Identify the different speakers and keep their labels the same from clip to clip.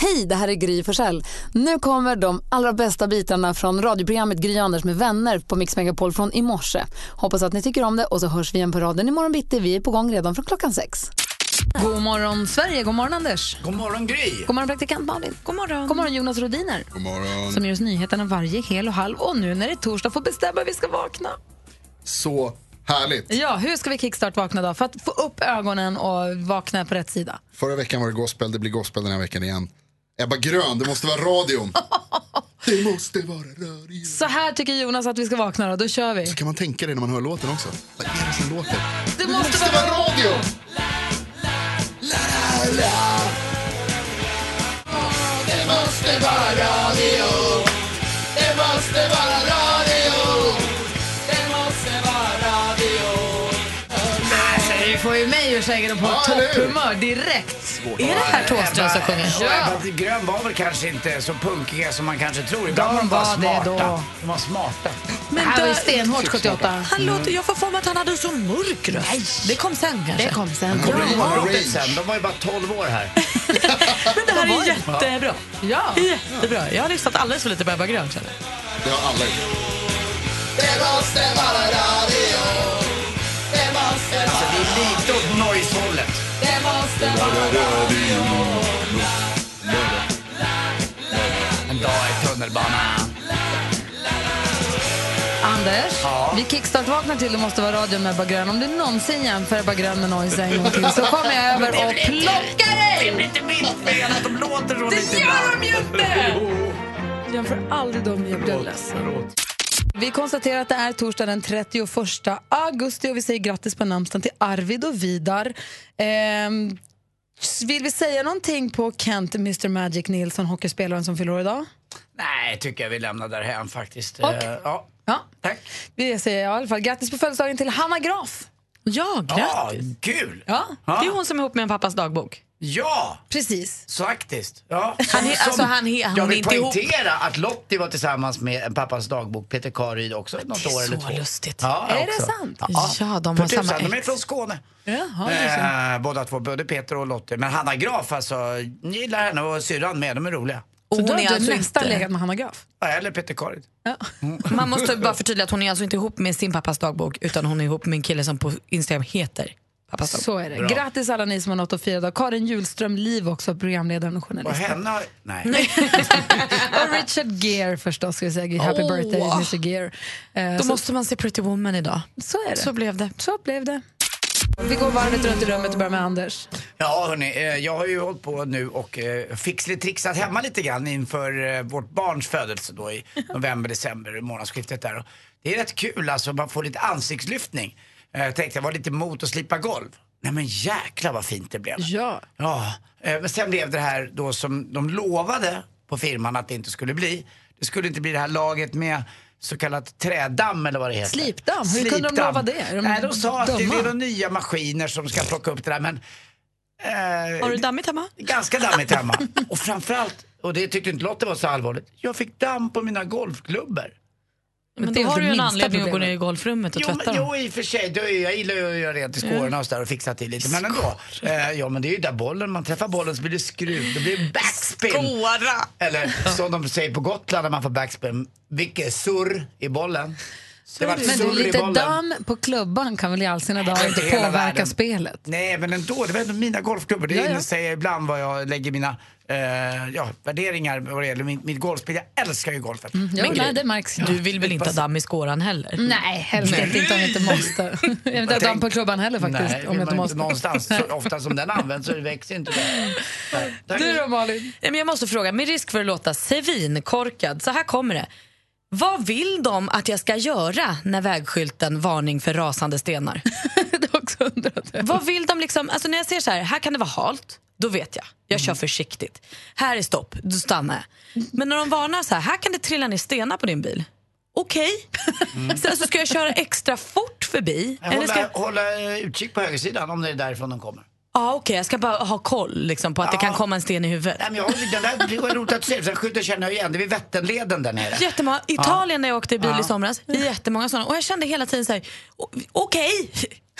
Speaker 1: Hej, det här är Gry Forssell. Nu kommer de allra bästa bitarna från radioprogrammet Gry Anders med vänner på Mix Megapol från i morse. Hoppas att ni tycker om det och så hörs vi igen på raden imorgon bitti. Vi är på gång redan från klockan sex. God morgon Sverige, god morgon Anders.
Speaker 2: God morgon Gry!
Speaker 1: God morgon praktikant Malin. God morgon. God morgon Jonas Rodiner. God morgon. Som ger oss nyheterna varje hel och halv och nu när det är torsdag får bestämma hur vi ska vakna.
Speaker 3: Så härligt.
Speaker 1: Ja, hur ska vi kickstart vakna då för att få upp ögonen och vakna på rätt sida?
Speaker 3: Förra veckan var det gospel, det blir gospel den här veckan igen. Ebba Grön, det måste vara radion. Det måste vara radion.
Speaker 1: Så här tycker Jonas att vi ska vakna då, då kör vi.
Speaker 3: Så kan man tänka det när man hör låten också. Vad är det som låter?
Speaker 1: Det
Speaker 3: Det
Speaker 1: måste
Speaker 3: måste
Speaker 1: vara...
Speaker 3: vara radion! La, la, la. Det måste vara radio. Det måste vara radio. Det måste vara radio.
Speaker 1: Alltså, du får ju mig ur sängen och på
Speaker 3: Ja, eller hur?
Speaker 1: topphumör direkt. Är det här Thåström som sjunger?
Speaker 2: Ja. Grön var väl kanske inte så punkiga som man kanske tror. Ibland var
Speaker 1: De
Speaker 2: de bara
Speaker 1: var det
Speaker 2: smarta.
Speaker 1: då.
Speaker 2: De var smarta.
Speaker 1: Men här var ju stenhårt 78.
Speaker 4: Han låter, jag får för mig att han hade så mörk röst. det kom sen kanske.
Speaker 1: Det kom sen.
Speaker 3: Kommer det
Speaker 2: De
Speaker 3: imorgon?
Speaker 2: var,
Speaker 3: Rage.
Speaker 2: sen. de var ju bara 12 år här.
Speaker 4: Men det här är jättebra.
Speaker 1: Ja.
Speaker 4: Det är jättebra. Jag har lyssnat alldeles för lite på Ebba Grön. känner jag.
Speaker 3: Det har alla gjort. Det måste vara radio. Det måste
Speaker 2: Så det är lite åt noise-hållet.
Speaker 3: vara radio.
Speaker 2: En dag i tunnelbanan.
Speaker 1: Anders,
Speaker 2: Ja.
Speaker 1: vi kickstart-vaknar till Det måste vara radion med Ebba Grön. Om du någonsin jämför Ebba Grön med Noise en gång till så kommer jag över och plockar dig!
Speaker 2: Inte mitt fel att de låter så
Speaker 1: Det
Speaker 2: lite
Speaker 1: gör
Speaker 2: ibland.
Speaker 1: de ju inte! Jämför aldrig dem med Björnlös. Vi konstaterar att det är torsdag den 31 augusti och vi säger grattis på namnsdagen till Arvid och Vidar. Ehm, vill vi säga någonting på Kent Mr Magic Nilsson, hockeyspelaren som fyller år idag?
Speaker 2: Nej, tycker jag vi lämnar därhän faktiskt.
Speaker 1: Och-
Speaker 2: Eh, Ja,
Speaker 1: Ja.
Speaker 2: tack.
Speaker 1: Vi säger i alla fall grattis på födelsedagen till Hanna Graf.
Speaker 4: Ja,
Speaker 2: Ja,
Speaker 4: grattis.
Speaker 2: kul!
Speaker 1: Ja,
Speaker 4: Det är hon som är ihop med en pappas dagbok.
Speaker 2: Ja,
Speaker 1: precis.
Speaker 2: så faktiskt. Ja,
Speaker 4: Han är- alltså, han är- han
Speaker 2: jag
Speaker 4: är
Speaker 2: vill
Speaker 4: inte ihop.
Speaker 2: poängtera att Lottie var tillsammans med en pappas dagbok, Peter Karyd också, något
Speaker 4: Det
Speaker 2: år
Speaker 4: är
Speaker 2: eller
Speaker 4: så
Speaker 2: två.
Speaker 4: lustigt.
Speaker 2: Ja,
Speaker 1: Är det
Speaker 2: också.
Speaker 1: sant?
Speaker 4: Ja, de
Speaker 2: För
Speaker 4: har samma
Speaker 2: tusan, De är
Speaker 4: ex.
Speaker 2: från Skåne.
Speaker 1: Jaha, det är så.
Speaker 2: Eh, båda två, både Peter och Lottie. Men Hanna Graf alltså, ni gillar henne och syrran med, de är roliga.
Speaker 4: Och
Speaker 1: Så
Speaker 4: hon
Speaker 1: du har
Speaker 4: är
Speaker 1: inte
Speaker 4: alltså
Speaker 1: nästan
Speaker 4: inte- Mm.
Speaker 1: legat med Hanna Graf?
Speaker 2: Ja, Eller Peter Karin.
Speaker 4: Man måste bara förtydliga att hon är alltså inte ihop med sin pappas dagbok utan hon är ihop med en kille som på Instagram heter pappas dagbok.
Speaker 1: Så är det. Grattis alla ni som har något att fira idag. Karin Julström Liv också, programledaren och
Speaker 2: Och
Speaker 1: journalisten.
Speaker 2: henne har... Nej.
Speaker 1: Och Richard Gere förstås, ska vi säga. Happy
Speaker 4: Åh.
Speaker 1: birthday Mr Gere. Eh,
Speaker 4: Då
Speaker 1: så,
Speaker 4: måste man se Pretty Woman idag.
Speaker 1: så är det.
Speaker 4: Så
Speaker 1: Så,
Speaker 4: blev det.
Speaker 1: blev det. Vi går varvet runt i rummet och börjar med Anders.
Speaker 2: Ja, hörni, eh, jag har ju hållit på nu och eh, fixlitrixat hemma lite grann inför eh, vårt barns födelse då i november, december, månadsskiftet där. Och det är rätt kul alltså, man får lite ansiktslyftning. Eh, Jag tänkte jag var lite emot att slipa golv. Nej men jäklar vad fint det blev.
Speaker 1: Ja.
Speaker 2: Ja, eh, men sen blev det här då som de lovade på firman att det inte skulle bli. Det skulle inte bli det här laget med så kallat trädamm eller vad det heter.
Speaker 1: Slipdamm? Hur kunde de
Speaker 2: Slipdamm.
Speaker 1: lova det? Är de
Speaker 2: Nej, de sa att det
Speaker 1: dumma?
Speaker 2: är de nya maskiner som ska plocka upp det där men... eh,
Speaker 4: Har du dammigt hemma?
Speaker 2: Ganska dammigt hemma. Och framförallt, och det tyckte inte Lotta var så allvarligt, jag fick damm på mina golfklubbor.
Speaker 4: Men
Speaker 1: det
Speaker 4: då har
Speaker 1: är inte
Speaker 4: du ju en
Speaker 1: minsta
Speaker 4: anledning att gå
Speaker 1: problemet.
Speaker 4: ner i golfrummet och
Speaker 2: Jo,
Speaker 4: tvätta
Speaker 2: men,
Speaker 4: dem.
Speaker 2: jo i och för sig, det är, ju- jag gillar ju att göra rent i skårorna och, så där och fixa till lite. Men ändå. Eh, ja men det är ju där bollen, man träffar bollen så blir det skruv, det blir backspin.
Speaker 4: Skåra!
Speaker 2: Eller som de säger på Gotland när man får backspin, vilket surr i bollen. Det var
Speaker 1: Men du,
Speaker 2: surr i
Speaker 1: lite
Speaker 2: bollen.
Speaker 1: damm på klubban kan väl i all sina dagar
Speaker 2: men
Speaker 1: inte
Speaker 2: hela
Speaker 1: påverka
Speaker 2: världen.
Speaker 1: spelet?
Speaker 2: Nej, men ändå. Det var ändå mina golfklubbor. Det
Speaker 1: Ja, ja.
Speaker 2: inne säger jag ibland vad jag lägger mina eh, ja, värderingar vad det gäller mitt, mitt golfspel. Jag älskar ju golfet.
Speaker 1: Ja, nej, det märks.
Speaker 4: Du vill väl inte ha damm i skåran heller?
Speaker 1: Nej, helst inte. Inte om jag inte måste. Jag vill inte ha damm på klubban heller faktiskt.
Speaker 2: Nej,
Speaker 1: om
Speaker 2: vill
Speaker 1: jag
Speaker 2: man
Speaker 1: inte
Speaker 2: inte
Speaker 1: måste.
Speaker 2: någonstans. Så ofta som den används så växer inte det. Nej, tack.
Speaker 1: Du då Malin?
Speaker 4: Nej, men jag måste fråga, med risk för att låta svinkorkad, så här kommer det. Vad vill de att jag ska göra när vägskylten varning för rasande stenar?
Speaker 1: det har också undrat.
Speaker 4: Vad vill de liksom, alltså när jag ser så här, här kan det vara halt, då vet jag. Jag
Speaker 2: Mm.
Speaker 4: kör försiktigt. Här är stopp, då stannar jag. Men när de varnar så här, här kan det trilla ner stenar på din bil. Okej. Sen så ska jag köra extra fort förbi.
Speaker 2: Mm. Jag
Speaker 4: Eller ska
Speaker 2: håller,
Speaker 4: jag,
Speaker 2: håller eh, utkik på högersidan om det är därifrån de kommer.
Speaker 4: ja, okej, jag ska bara ha koll liksom, på att det kan komma en sten i huvudet.
Speaker 2: Nej, men jag, håller- den där, det var roligt att du säger det. Sen skylten känner jag igen. Det är vid Vätternleden där nere.
Speaker 4: Jättemånga. Italien när jag åkte i bil i somras, jättemånga sådana. Och jag kände hela tiden så här, o- okej,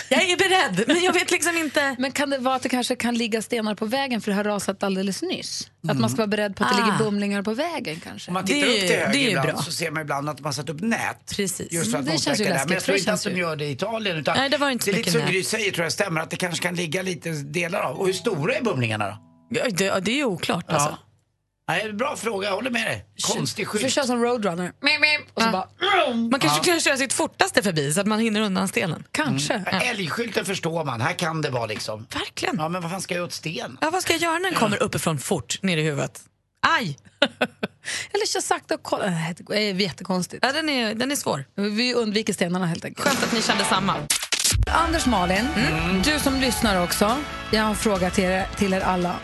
Speaker 4: Jag är beredd, men jag vet liksom inte.
Speaker 1: Men kan det vara att det kanske kan ligga stenar på vägen för det har rasat alldeles nyss? Att man ska vara beredd på att det
Speaker 4: Ah.
Speaker 1: ligger bumlingar på vägen kanske?
Speaker 2: Om man
Speaker 4: Det
Speaker 2: tittar
Speaker 4: är-
Speaker 2: upp till höger
Speaker 4: det är ju
Speaker 2: ibland
Speaker 4: bra.
Speaker 2: så ser man ibland att man satt upp nät.
Speaker 4: Precis.
Speaker 2: Just för att
Speaker 1: Mm, det
Speaker 2: motverka
Speaker 1: känns ju
Speaker 2: här. Men jag
Speaker 1: läskigt,
Speaker 2: tror
Speaker 1: det
Speaker 2: inte att
Speaker 1: känns
Speaker 2: de
Speaker 1: ju.
Speaker 2: gör det i Italien. Utan
Speaker 4: Nej, det var inte
Speaker 2: det är
Speaker 4: så
Speaker 2: lite
Speaker 4: mycket
Speaker 2: som
Speaker 4: nät.
Speaker 2: Gry säger tror jag stämmer, att det kanske kan ligga lite delar av. Och hur stora är bumlingarna då?
Speaker 4: Ja, Det, ja, det är ju oklart
Speaker 2: Ja.
Speaker 4: alltså.
Speaker 2: Nej, bra fråga, jag håller med dig. Konstig
Speaker 1: Du får
Speaker 2: skylt.
Speaker 1: köra som roadrunner. Ah. Mim, mim. Och så bara,
Speaker 4: Man kanske kan köra sitt fortaste förbi så att man hinner undan stenen.
Speaker 1: kanske.
Speaker 2: Älgskylten förstår man, här kan det vara liksom.
Speaker 4: Mm. Verkligen.
Speaker 2: Ja men vad fan ska jag åt sten?
Speaker 4: Ja, vad ska jag göra när den kommer uppifrån fort ner i huvudet? Aj!
Speaker 1: Eller kör sakta och kolla. Nej, Det är jättekonstigt.
Speaker 4: Ja, den, är, den är svår.
Speaker 1: Vi undviker stenarna helt enkelt.
Speaker 4: Skönt att ni kände samma.
Speaker 1: Anders Malin, du som lyssnar också. Jag har en fråga till er, till er alla.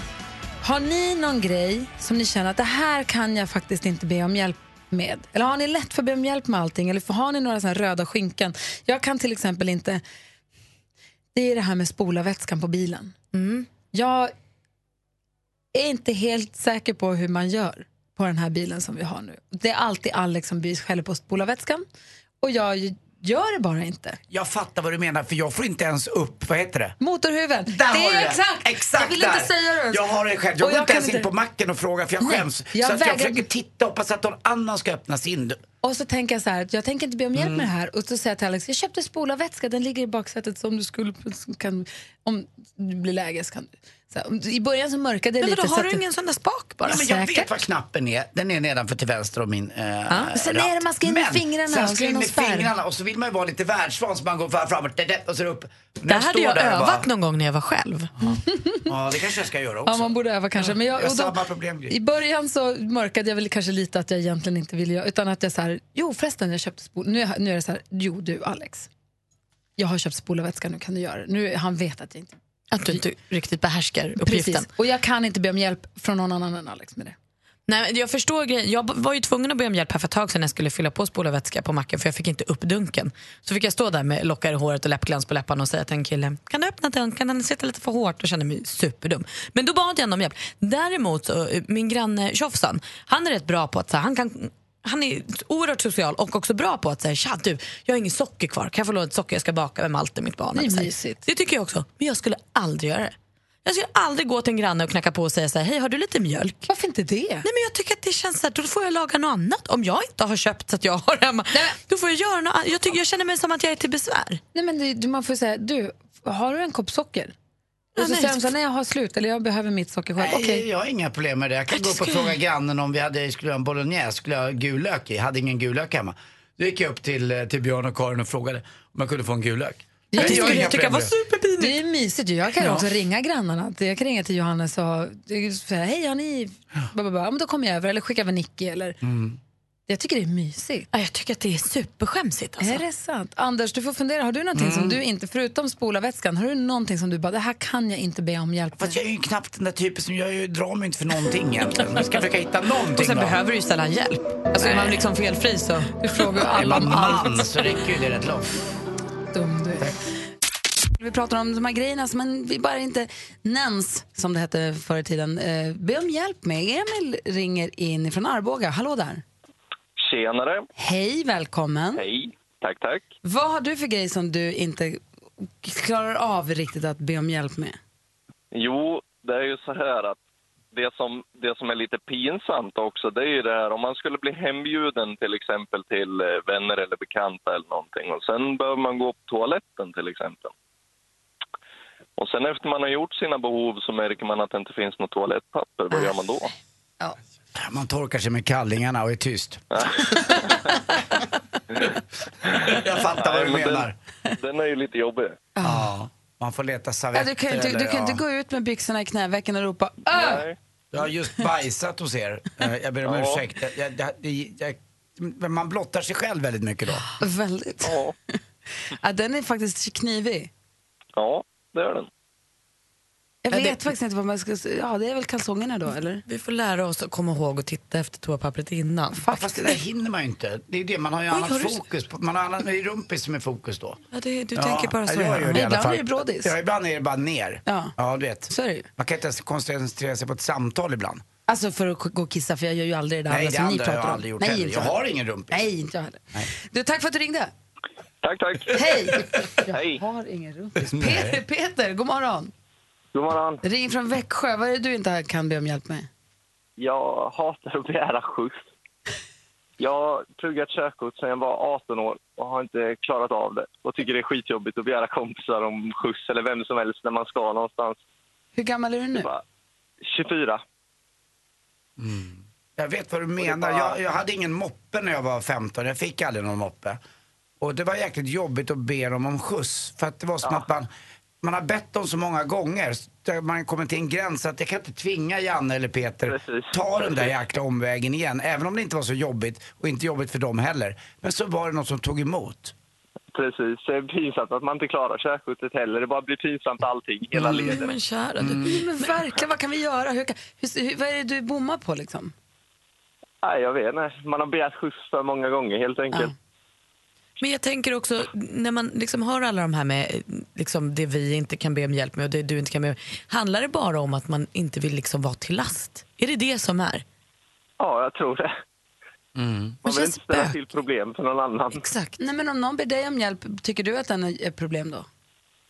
Speaker 1: Har ni någon grej som ni känner att det här kan jag faktiskt inte be om hjälp med? Eller har ni lätt för att be om hjälp med allting? Eller har ni några såna här röda skynken? Jag kan till exempel inte... Det är det här med spolarvätskan på bilen. Jag är inte helt säker på hur man gör på den här bilen som vi har nu. Det är alltid Alex som bys- skäller på spolarvätskan och jag gör det bara inte.
Speaker 2: Jag fattar vad du menar för jag får inte ens upp, vad heter det?
Speaker 1: Motorhuven.
Speaker 2: Där
Speaker 1: det
Speaker 2: har du
Speaker 1: är exakt.
Speaker 2: exakt!
Speaker 1: Jag vill
Speaker 2: där.
Speaker 1: inte säga det. ens.
Speaker 2: Jag har det själv.
Speaker 1: Och
Speaker 2: Jag går
Speaker 1: jag
Speaker 2: inte
Speaker 1: kan
Speaker 2: ens in
Speaker 1: inte-
Speaker 2: på macken och frågar för jag
Speaker 1: Nej,
Speaker 2: skäms.
Speaker 1: jag
Speaker 2: så att
Speaker 1: vägrar-
Speaker 2: jag försöker titta och hoppas att någon annan ska öppna sin.
Speaker 1: Och så tänker jag så här, att jag tänker inte be om
Speaker 2: Mm.
Speaker 1: hjälp med det här. Och så säger jag till Alex, jag köpte spolarvätska, den ligger i baksätet så om du skulle, så kan, om det blir läge så kan du. Så här, om du- I början så mörkade jag
Speaker 4: Men
Speaker 1: lite.
Speaker 4: då
Speaker 1: så
Speaker 4: har
Speaker 1: att
Speaker 4: du
Speaker 1: det-
Speaker 4: ingen sån där spak bara?
Speaker 2: Ja, men jag vet
Speaker 1: Säkert.
Speaker 2: vad knappen är. Den är nedanför till vänster om min eh,
Speaker 1: Sen är det man ska in med
Speaker 2: Men
Speaker 1: fingrarna
Speaker 2: Sen
Speaker 1: och så
Speaker 2: ska in
Speaker 1: någon
Speaker 2: med
Speaker 1: spärr.
Speaker 2: fingrarna och så vill man ju vara lite världsvan så man går fram- framåt det- det- och så upp. När
Speaker 4: Det hade
Speaker 2: står
Speaker 4: jag
Speaker 2: där och
Speaker 4: övat någon gång när jag var själv.
Speaker 2: Ja, det kanske jag ska göra
Speaker 1: Ja,
Speaker 2: också.
Speaker 1: man borde öva kanske. Men jag,
Speaker 2: Jag
Speaker 1: och då,
Speaker 2: har samma problem, Gry.
Speaker 1: I början så mörkade jag väl kanske lite att jag egentligen inte ville göra, utan att jag så här, jo förresten jag köpte spol, nu, är- nu är det så här, jo du Alex, jag har köpt spolarvätska, nu kan du göra det. Nu, han vet att jag inte
Speaker 4: Att du inte riktigt behärskar uppgiften.
Speaker 1: Precis. Och jag kan inte be om hjälp från någon annan än Alex med det.
Speaker 4: Nej, men jag förstår grejen. Jag b- var ju tvungen att be om hjälp här för ett tag sedan när jag skulle fylla på spolarvätska på macken för jag fick inte upp dunken. Så fick jag stå där med lockar i håret och läppglans på läpparna och säga till en kille, kan du öppna den? Kan den sitta lite för hårt? Och kände mig superdum. Men då bad jag ändå om hjälp. Däremot, så, eh, min granne Tjofsan, han är rätt bra på att så här, han kan han är oerhört social och också bra på att säga Tja, du, jag har inget socker kvar, kan jag få låna ett socker? Jag ska baka med Malte, mitt barn.
Speaker 1: Det är
Speaker 4: Så här.
Speaker 1: mysigt.
Speaker 4: Det tycker jag också, men jag skulle aldrig göra det. Jag skulle aldrig gå till en granne och knacka på och säga så här, hej har du lite mjölk?
Speaker 1: Varför inte det?
Speaker 4: Nej men jag tycker att det känns så här, då får jag laga något annat om jag inte har köpt så att jag har hemma. Då får jag göra något annat. Jag, tycker, jag känner mig som att jag är till besvär.
Speaker 1: Nej, men det, du- man får säga, du, har du en kopp socker?
Speaker 4: Ja,
Speaker 1: Och så
Speaker 4: nej.
Speaker 1: säger de så här, nej jag har slut eller jag behöver mitt socker själv.
Speaker 2: Nej,
Speaker 1: Okej.
Speaker 2: jag har inga problem med det. Jag kan
Speaker 4: Jag
Speaker 2: gå upp och
Speaker 4: skulle-
Speaker 2: fråga grannen om vi hade, skulle ha en bolognese, skulle jag ha gul lök i? Hade ingen gul lök hemma. Då gick jag upp till, eh, till Björn och Karin och frågade om jag kunde få en gul lök. Nej,
Speaker 4: Det
Speaker 2: jag har
Speaker 4: skulle
Speaker 2: inga
Speaker 4: jag tycka
Speaker 2: problem
Speaker 4: var
Speaker 2: med det.
Speaker 4: superpinigt.
Speaker 1: Det är mysigt ju. Jag kan ju
Speaker 2: Ja.
Speaker 1: också ringa grannarna. Jag kan ringa till Johannes och säga, hej har ni... Bla, bla, bla. Ja, men då kommer jag över eller skickar över Nicky eller...
Speaker 4: Mm.
Speaker 1: Jag tycker det är mysigt.
Speaker 4: Ja, jag tycker att det är superskämsigt alltså. Mm.
Speaker 1: Är det sant? Anders, du får fundera. Har du någonting som du inte, förutom spolarvätskan, har du någonting som du bara, det här kan jag inte be om hjälp med?
Speaker 2: Fast jag är ju knappt den där typen som, jag är ju- drar mig inte för någonting egentligen. Jag ska försöka hitta någonting
Speaker 4: Och sen
Speaker 2: då.
Speaker 4: behöver du ju sällan hjälp. Alltså är man liksom felfri så...
Speaker 1: Du frågar ju
Speaker 2: Är
Speaker 1: alla
Speaker 2: man
Speaker 1: om
Speaker 2: man
Speaker 1: allt.
Speaker 2: så räcker ju det rätt långt.
Speaker 1: Dum du är. Vi pratar om de här grejerna som man vi bara inte nämns, som det hette förr i tiden. Eh, be om hjälp med. Emil ringer in från Arboga. Hallå där.
Speaker 5: Tjenare!
Speaker 1: Hej, välkommen.
Speaker 5: Hej! Tack, tack.
Speaker 1: Vad har du för grej som du inte klarar av riktigt att be om hjälp med?
Speaker 5: Jo, det är ju så här att det som, det som är lite pinsamt också, det är ju det här om man skulle bli hembjuden till exempel till eh, vänner eller bekanta eller någonting och sen behöver man gå på toaletten till exempel. Och sen efter man har gjort sina behov så märker man att det inte finns något toalettpapper. Vad gör man då?
Speaker 2: Man torkar sig med kallingarna och är tyst. jag fattar vad du
Speaker 5: Nej, men
Speaker 2: menar.
Speaker 5: Den, den är ju lite jobbig.
Speaker 2: Ja, man får leta
Speaker 1: Ja,
Speaker 2: servetter
Speaker 1: du kan ju inte,
Speaker 2: eller,
Speaker 1: du kan inte
Speaker 2: ja.
Speaker 1: gå ut med byxorna i knävecken och ropa Öh!
Speaker 5: Nej.
Speaker 2: Jag har just bajsat hos er. Eh, Jag ber om
Speaker 5: Ja.
Speaker 2: ursäkt. Jag, jag, det- det- jag, men man blottar sig själv väldigt mycket då.
Speaker 1: Väldigt.
Speaker 5: Ja,
Speaker 1: Ja, den är faktiskt knivig.
Speaker 5: ja, det är den.
Speaker 1: Jag
Speaker 4: Ja, det-
Speaker 1: vet faktiskt inte vad man ska säga. Ja, det är väl kalsongerna då, eller?
Speaker 4: Vi får lära oss att komma ihåg att titta efter toapappret innan.
Speaker 2: Fast det där hinner man ju inte. Det är ju det, man har ju
Speaker 4: har
Speaker 2: annat
Speaker 4: du-
Speaker 2: fokus. på- Man har annat, det är rumpis som är fokus då.
Speaker 4: Ja, det, du tänker bara så.
Speaker 2: jag gör ju
Speaker 4: ja.
Speaker 2: det i
Speaker 1: Ibland
Speaker 2: alla fall.
Speaker 1: är det brådis.
Speaker 2: Ja, ibland är det bara ner.
Speaker 1: Ja.
Speaker 2: du vet.
Speaker 1: Så är det ju.
Speaker 2: Man kan inte ens koncentrera sig på ett samtal ibland.
Speaker 1: Alltså för att k- gå och kissa, för jag gör ju aldrig det där
Speaker 2: Nej,
Speaker 1: andra
Speaker 2: det
Speaker 1: som ni
Speaker 2: andra har
Speaker 1: pratar
Speaker 2: jag
Speaker 1: om.
Speaker 2: aldrig gjort
Speaker 1: Nej,
Speaker 2: heller.
Speaker 1: inte
Speaker 2: Jag har ingen rumpis.
Speaker 1: Nej, inte jag heller. Du, tack för att du ringde.
Speaker 5: Tack, tack.
Speaker 1: Hej! Jag
Speaker 5: Hej.
Speaker 1: har ingen rumpis. Peter, Peter, god morgon.
Speaker 5: God morgon.
Speaker 1: Ring från Växjö. Vad är det du inte kan be om hjälp med?
Speaker 5: Jag hatar att begära skjuts. Jag har pluggat körkort sedan jag var 18 år och har inte klarat av det. Och tycker det är skitjobbigt att begära kompisar om skjuts eller vem som helst när man ska någonstans.
Speaker 1: Hur gammal är du nu?
Speaker 5: Bara 24.
Speaker 2: Jag vet vad du menar.
Speaker 5: bara-
Speaker 2: Jag, jag hade ingen moppe när jag var 15. Jag fick aldrig någon moppe. Och det var jäkligt jobbigt att be dem om skjuts. För att det var som att man, man har bett dem så många gånger. så där Man kommer till en gräns att jag kan inte tvinga Janne eller Peter
Speaker 5: Precis.
Speaker 2: ta den där jäkla omvägen igen. Även om det inte var så jobbigt och inte jobbigt för dem heller. Men så var det någon som tog emot.
Speaker 5: Precis. Det är pinsamt att man inte klarar körkortet heller. Det bara blir pinsamt allting, hela
Speaker 1: Mm.
Speaker 5: leden.
Speaker 4: Men kära du.
Speaker 2: Mm.
Speaker 1: Ja, Men verkligen, vad kan vi göra? Hur kan, hur, hur, vad är det du bommar på liksom?
Speaker 5: Nej, jag vet inte. Man har begärt skjuts för många gånger helt enkelt.
Speaker 4: Men jag tänker också, när man liksom hör alla de här med eh, liksom det vi inte kan be om hjälp med och det du inte kan be om Handlar det bara om att man inte vill liksom vara till last? Är det det som är?
Speaker 5: Ja, jag tror det. Man
Speaker 1: Men
Speaker 5: vill
Speaker 1: Mm. känns
Speaker 5: inte ställa
Speaker 1: bök.
Speaker 5: till problem för någon annan.
Speaker 4: Exakt.
Speaker 1: Nej, men om någon ber dig om hjälp, tycker du att den är ett problem då?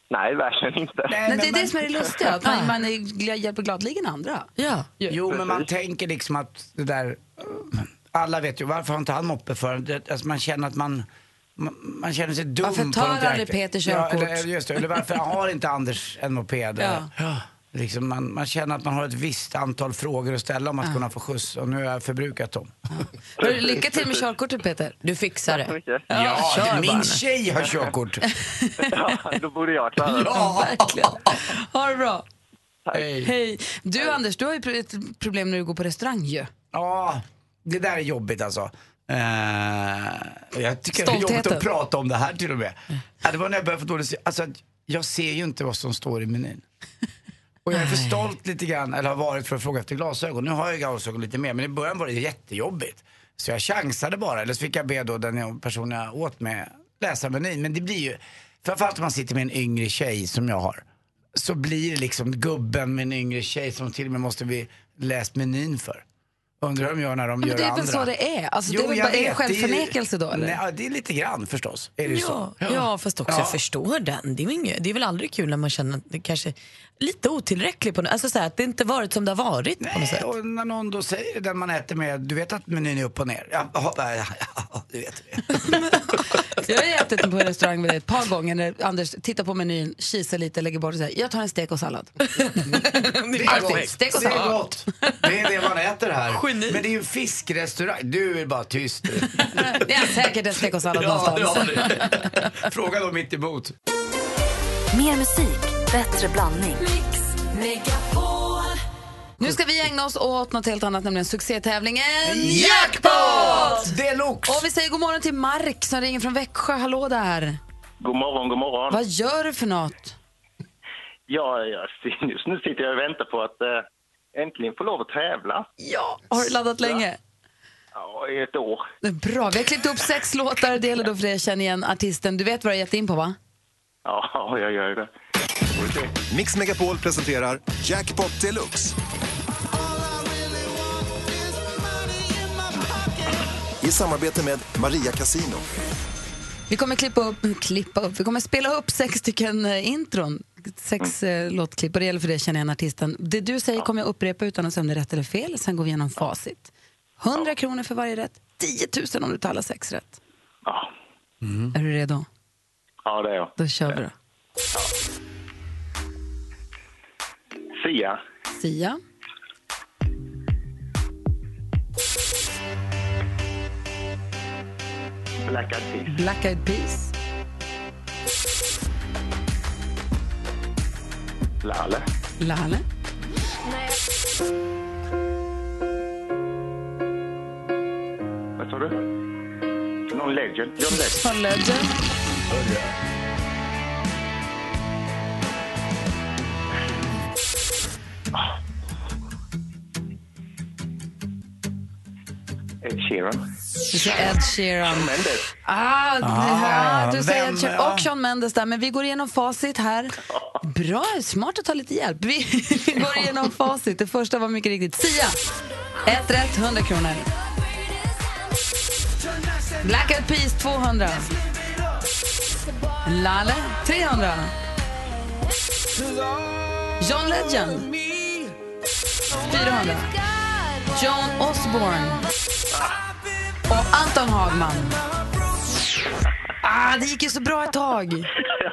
Speaker 5: Nej, verkligen inte.
Speaker 1: Nej, det är
Speaker 2: man,
Speaker 1: det som är det lustiga, att man, man är, gl- hjälper gladeligen andra.
Speaker 4: Ja.
Speaker 2: Jo, men man tänker liksom att det där... Alla vet ju, varför har inte han moppe för? Det- Alltså man känner att man... Man, man känner sig dum.
Speaker 1: Varför
Speaker 2: på
Speaker 1: tar
Speaker 2: något jäkla-
Speaker 1: aldrig Peter
Speaker 2: Ja,
Speaker 1: körkort?
Speaker 2: eller, just det, eller varför har inte Anders en moped?
Speaker 1: Ja.
Speaker 2: Liksom man, man känner att man har ett visst antal frågor att ställa om att kunna få skjuss och nu har jag förbrukat dem.
Speaker 1: Hörru, Lycka till med körkortet Peter.
Speaker 4: Du fixar det.
Speaker 5: Mycket.
Speaker 4: Ja,
Speaker 2: det-
Speaker 4: kör bara nu.
Speaker 2: min tjej har körkort.
Speaker 5: Ja, då borde jag klara det.
Speaker 1: Verkligen. Ha det bra.
Speaker 2: Hej.
Speaker 1: Hej. Du Anders, du har ju pro- ett problem när du går på restaurang ju.
Speaker 2: Ja, det där är jobbigt alltså. Eh, jag tycker det är jobbigt
Speaker 1: Stoltheten.
Speaker 2: att prata om det här till och med. Ja, det var när jag började få dålig alltså, Jag ser ju inte vad som står i menyn. Och jag är för stolt lite grann, eller har varit för att fråga efter glasögon. Nu har jag glasögon lite mer, men i början var det jättejobbigt. Så jag chansade bara, eller så fick jag be då den jag- personen jag åt med läsa menyn. Men det blir ju, framförallt om man sitter med en yngre tjej som jag har, så blir det liksom gubben med en yngre tjej som till och med måste bli läst menyn för. Undrar om jag när de
Speaker 1: Ja,
Speaker 2: gör
Speaker 1: men det är
Speaker 2: andra.
Speaker 1: väl så det är? Alltså, det är väl
Speaker 2: jag
Speaker 1: bara är det
Speaker 2: vet, det är ju-
Speaker 1: självförnekelse då eller?
Speaker 2: Nej, ja, det är lite grann förstås. Är det
Speaker 4: Ja,
Speaker 2: så?
Speaker 4: ja, fast också
Speaker 2: Ja.
Speaker 4: jag förstår den. Det är, väl inget, det är väl aldrig kul när man känner att det kanske är lite otillräcklig på något Alltså så här, att det inte varit som det har varit på något
Speaker 2: Nej,
Speaker 4: sätt.
Speaker 2: och när någon då säger den man äter med, du vet att menyn är upp och ner? Ja, ja, ja, ja du vet det.
Speaker 1: Jag har ju ätit på en restaurang med dig ett par gånger när Anders tittar på menyn, kisar lite, lägger bort och säger jag tar en stek och sallad.
Speaker 2: Det
Speaker 1: Alltid.
Speaker 2: är gott.
Speaker 1: Stek och
Speaker 2: det är
Speaker 1: sallad.
Speaker 2: gott. Det är det man äter här.
Speaker 4: Geni.
Speaker 2: Men det är ju en fiskrestaurang. Du är bara tyst. du.
Speaker 1: Det är säkert en stek och sallad
Speaker 2: ja,
Speaker 1: någonstans.
Speaker 2: ja, det. Fråga då mitt emot.
Speaker 6: Mer musik, bättre blandning.
Speaker 1: Nu ska vi ägna oss åt något helt annat, nämligen succétävlingen
Speaker 2: Jackpot! Deluxe!
Speaker 1: Och vi säger god morgon till Mark som ringer från Växjö. Hallå där!
Speaker 7: God morgon, god morgon.
Speaker 1: Vad gör du för något?
Speaker 7: Ja, ja, just nu sitter jag och väntar på att eh, äntligen få lov att tävla.
Speaker 1: Ja, har du laddat länge?
Speaker 7: Ja, i ett år.
Speaker 1: Det är Bra, vi har klippt upp sex låtar. Det gäller då för dig att känna igen artisten. Du vet vad du har gett in på, va?
Speaker 7: Ja, jag gör ju det. Får vi se.
Speaker 8: Mix Megapol presenterar Jackpot Deluxe. I samarbete med Maria Casino.
Speaker 1: Vi kommer klippa upp, klippa upp. Vi kommer spela upp sex stycken eh, intron. Sex eh, låtklipp och det gäller för dig att känna igen artisten. Det du säger kommer jag upprepa utan att säga om det är rätt eller fel. Sen går vi igenom facit. 100 kronor för varje rätt. 10 000 om du tar alla sex rätt.
Speaker 7: Ja.
Speaker 1: Är du redo?
Speaker 7: ja, det är jag.
Speaker 1: Då kör vi då.
Speaker 7: Sia,
Speaker 1: Sia,
Speaker 7: Black Eyed Peas,
Speaker 1: Black Eyed Peas,
Speaker 7: Lalle,
Speaker 1: Lalle,
Speaker 7: vad sa du? Någon legend? John Legend?
Speaker 1: John Legend,
Speaker 7: Ed Sheeran?
Speaker 1: du säger Ed Sheeran.
Speaker 7: Mendes?
Speaker 1: Ah, ja, du säger
Speaker 2: vem-
Speaker 1: Ed Sheeran
Speaker 2: ja.
Speaker 1: och Sean Mendes där, men vi går igenom facit här. Bra, smart att ta lite hjälp. Vi, vi går igenom facit. Det första var mycket riktigt Sia. Ett rätt, 100 kronor. Black Eyed Peas, 200. Lalle 300. John Legend 400. John Osborne. Och Anton Hagman. Ah, det gick ju så bra ett tag.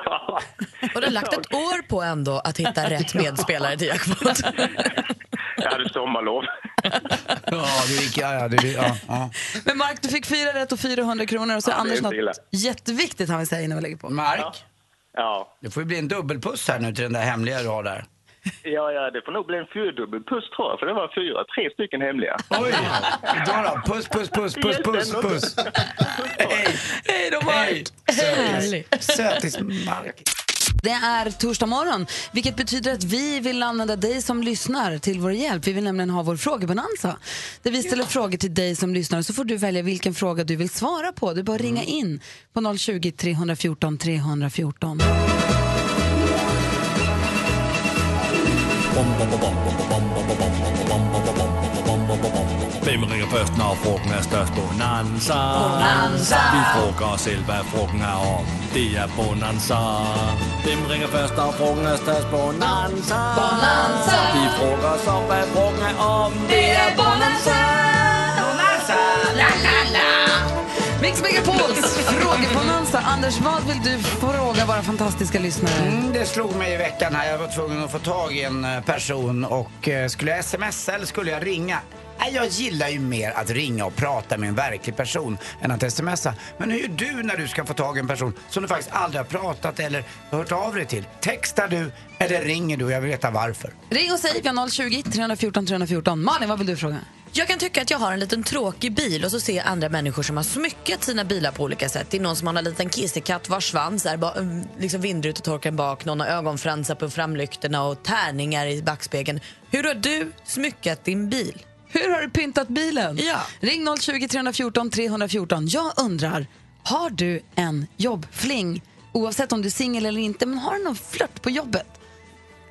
Speaker 7: Ja.
Speaker 4: Och du har lagt ett år på ändå att hitta rätt medspelare till jackpot.
Speaker 7: Jag hade sommarlov.
Speaker 2: Ja, det gick... Ja, ja, det, ja, ja.
Speaker 1: Men Mark, du fick fyra rätt och 400 kronor. Och så
Speaker 7: det är
Speaker 1: Anders
Speaker 7: inte illa.
Speaker 1: något jätteviktigt han vill säga innan vi lägger på.
Speaker 2: Mark,
Speaker 7: Ja.
Speaker 2: det får ju bli en dubbelpuss här nu till den där hemliga du har där.
Speaker 7: Ja, ja, det får nog bli en fyrdubbel puss tror jag, för det var fyra, tre stycken hemliga.
Speaker 2: Oj! Då då. Puss, puss, puss, puss, puss, puss. Hej!
Speaker 1: Hej då,
Speaker 2: Hej! Sötis. Sötis Mark.
Speaker 1: Det är torsdag morgon, vilket betyder att vi vill använda dig som lyssnar till vår hjälp. Vi vill nämligen ha vår frågebonanza. Där vi ställer frågor till dig som lyssnar och så får du välja vilken fråga du vill svara på. Du bara att ringa in på 020-314 314.
Speaker 9: Vem ringer först när frågan är störst? Bonanza. Vi frågar oss själva vad frågan är om. Det är Bonanza. Vem ringer först när frågan är störst? Bonanza. Vi frågar oss om vad frågan är om. Det är
Speaker 1: Mix Megapols frågebonanza. Anders, vad vill du fråga våra fantastiska lyssnare?
Speaker 2: Mm, Det slog mig i veckan här. Jag var tvungen att få tag i en eh, person och eh, skulle jag smsa eller skulle jag ringa? Nej, jag gillar ju mer att ringa och prata med en verklig person än att smsa. Men hur gör du när du ska få tag i en person som du faktiskt aldrig har pratat eller hört av dig till? Textar du eller ringer du? Jag vill veta varför.
Speaker 1: Ring och säg på 020-314 314. Malin, vad vill du fråga?
Speaker 4: Jag kan tycka att jag har en liten tråkig bil och så ser jag andra människor som har smyckat sina bilar på olika sätt. Det är någon som har en liten kissekatt vars svans är ba- mm, liksom vindrutetorkaren bak, någon har ögonfransar på framlyktorna och tärningar i backspegeln. Hur har du smyckat din bil?
Speaker 1: Hur har du pyntat bilen?
Speaker 4: Ja.
Speaker 1: Ring 020 314 314. Jag undrar, har du en jobbfling? Oavsett om du är singel eller inte, men har du någon flört på jobbet?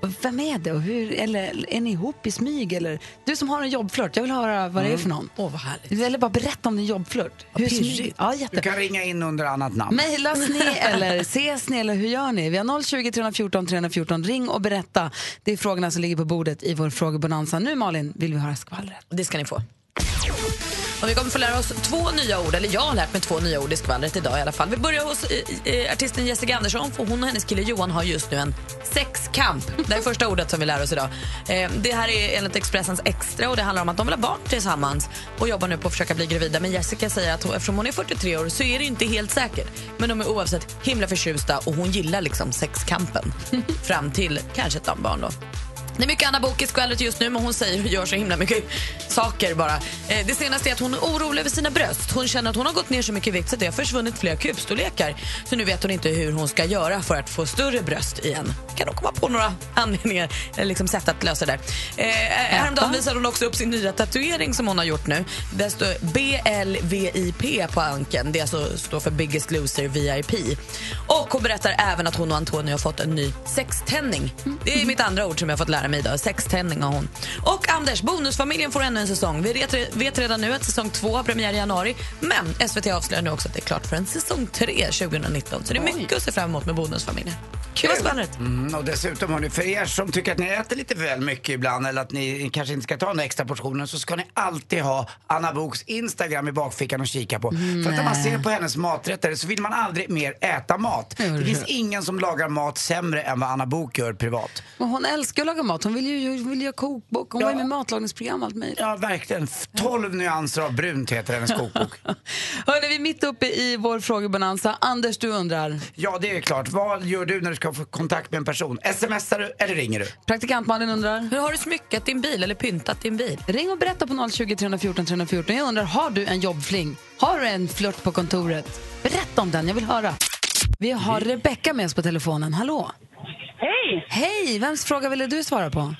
Speaker 1: Och Vem är det och hur, eller är ni ihop i smyg? Eller? Du som har en jobbflört, jag vill höra Mm. vad det är för någon.
Speaker 4: Åh, vad härligt.
Speaker 1: Eller bara berätta om din jobbflört. Hur
Speaker 4: pirrigt.
Speaker 1: smyg- ja,
Speaker 2: Du
Speaker 1: jätte.
Speaker 2: kan ringa in under annat namn.
Speaker 1: Mejlas ni eller ses ni eller hur gör ni? Vi har 020 314 314. Ring och berätta. Det är frågorna som ligger på bordet i vår frågebonanza. Nu Malin vill vi höra skvallret.
Speaker 4: Det ska ni få. Och vi kommer få lära oss två nya ord, eller jag har lärt mig två nya ord i skvallret idag i alla fall. Vi börjar hos eh, eh, artisten Jessica Andersson, för hon och hennes kille Johan har just nu en sexkamp. Det är första ordet som vi lär oss idag. Eh, det här är enligt Expressens Extra och det handlar om att de vill ha barn tillsammans och jobbar nu på att försöka bli gravida. Men Jessica säger att hon, eftersom hon är 43 år så är det inte helt säkert. Men de är oavsett himla förtjusta och hon gillar liksom sexkampen. Fram till kanske ett barn då. Det är mycket Anna Book i skvallret just nu, men hon säger och gör så himla mycket saker bara. Eh, Det senaste är att hon är orolig över sina bröst. Hon känner att hon har gått ner så mycket i vikt så att det har försvunnit flera kubstorlekar. Så nu vet hon inte hur hon ska göra för att få större bröst igen. Kan hon komma på några anledningar eller liksom sätt att lösa det? där. Eh, häromdagen visade hon också upp sin nya tatuering som hon har gjort nu. Där står BLVIP på ankeln. Det alltså står för Biggest Loser VIP. Och hon berättar även att hon och Antonio har fått en ny sextänning. Det är mitt andra ord som jag har fått lära mig idag. Sextänning har hon. Och Anders, Bonusfamiljen får ännu en säsong. Vi vet- vet redan nu att säsong två har premiär i januari. Men SVT avslöjar nu också att det är klart för en säsong tre 2019. Så det är mycket att se fram emot med Bonusfamiljen. Kul! Det var spännande.
Speaker 2: Mm, och dessutom hörni, för er som tycker att ni äter lite väl mycket ibland eller att ni kanske inte ska ta den extra portionen så ska ni alltid ha Anna Boks Instagram i bakfickan och kika på. För att när man ser på hennes maträtter så vill man aldrig mer äta mat. Det finns ingen som lagar mat sämre än vad Anna Bok gör privat.
Speaker 1: Men hon älskar att laga mat. Hon vill ju hon vill göra kokbok. Hon var ju med i matlagningsprogram och allt möjligt.
Speaker 2: Ja, verkligen. F- 12 nyanser av brunt heter hennes kokbok.
Speaker 1: Hörrni, vi är mitt uppe i vår frågebonanza. Anders, du undrar.
Speaker 2: Ja, det är klart. Vad gör du när du ska få kontakt med en person? Smsar du eller ringer du?
Speaker 1: Praktikant Malin undrar.
Speaker 4: Hur har du smyckat din bil eller pyntat din bil?
Speaker 1: Ring och berätta på 020 314 314. Jag undrar, har du en jobbfling? Har du en flört på kontoret? Berätta om den, jag vill höra. Vi har Rebecka med oss på telefonen. Hallå!
Speaker 10: Hej!
Speaker 1: Hej! Vems fråga ville du svara på?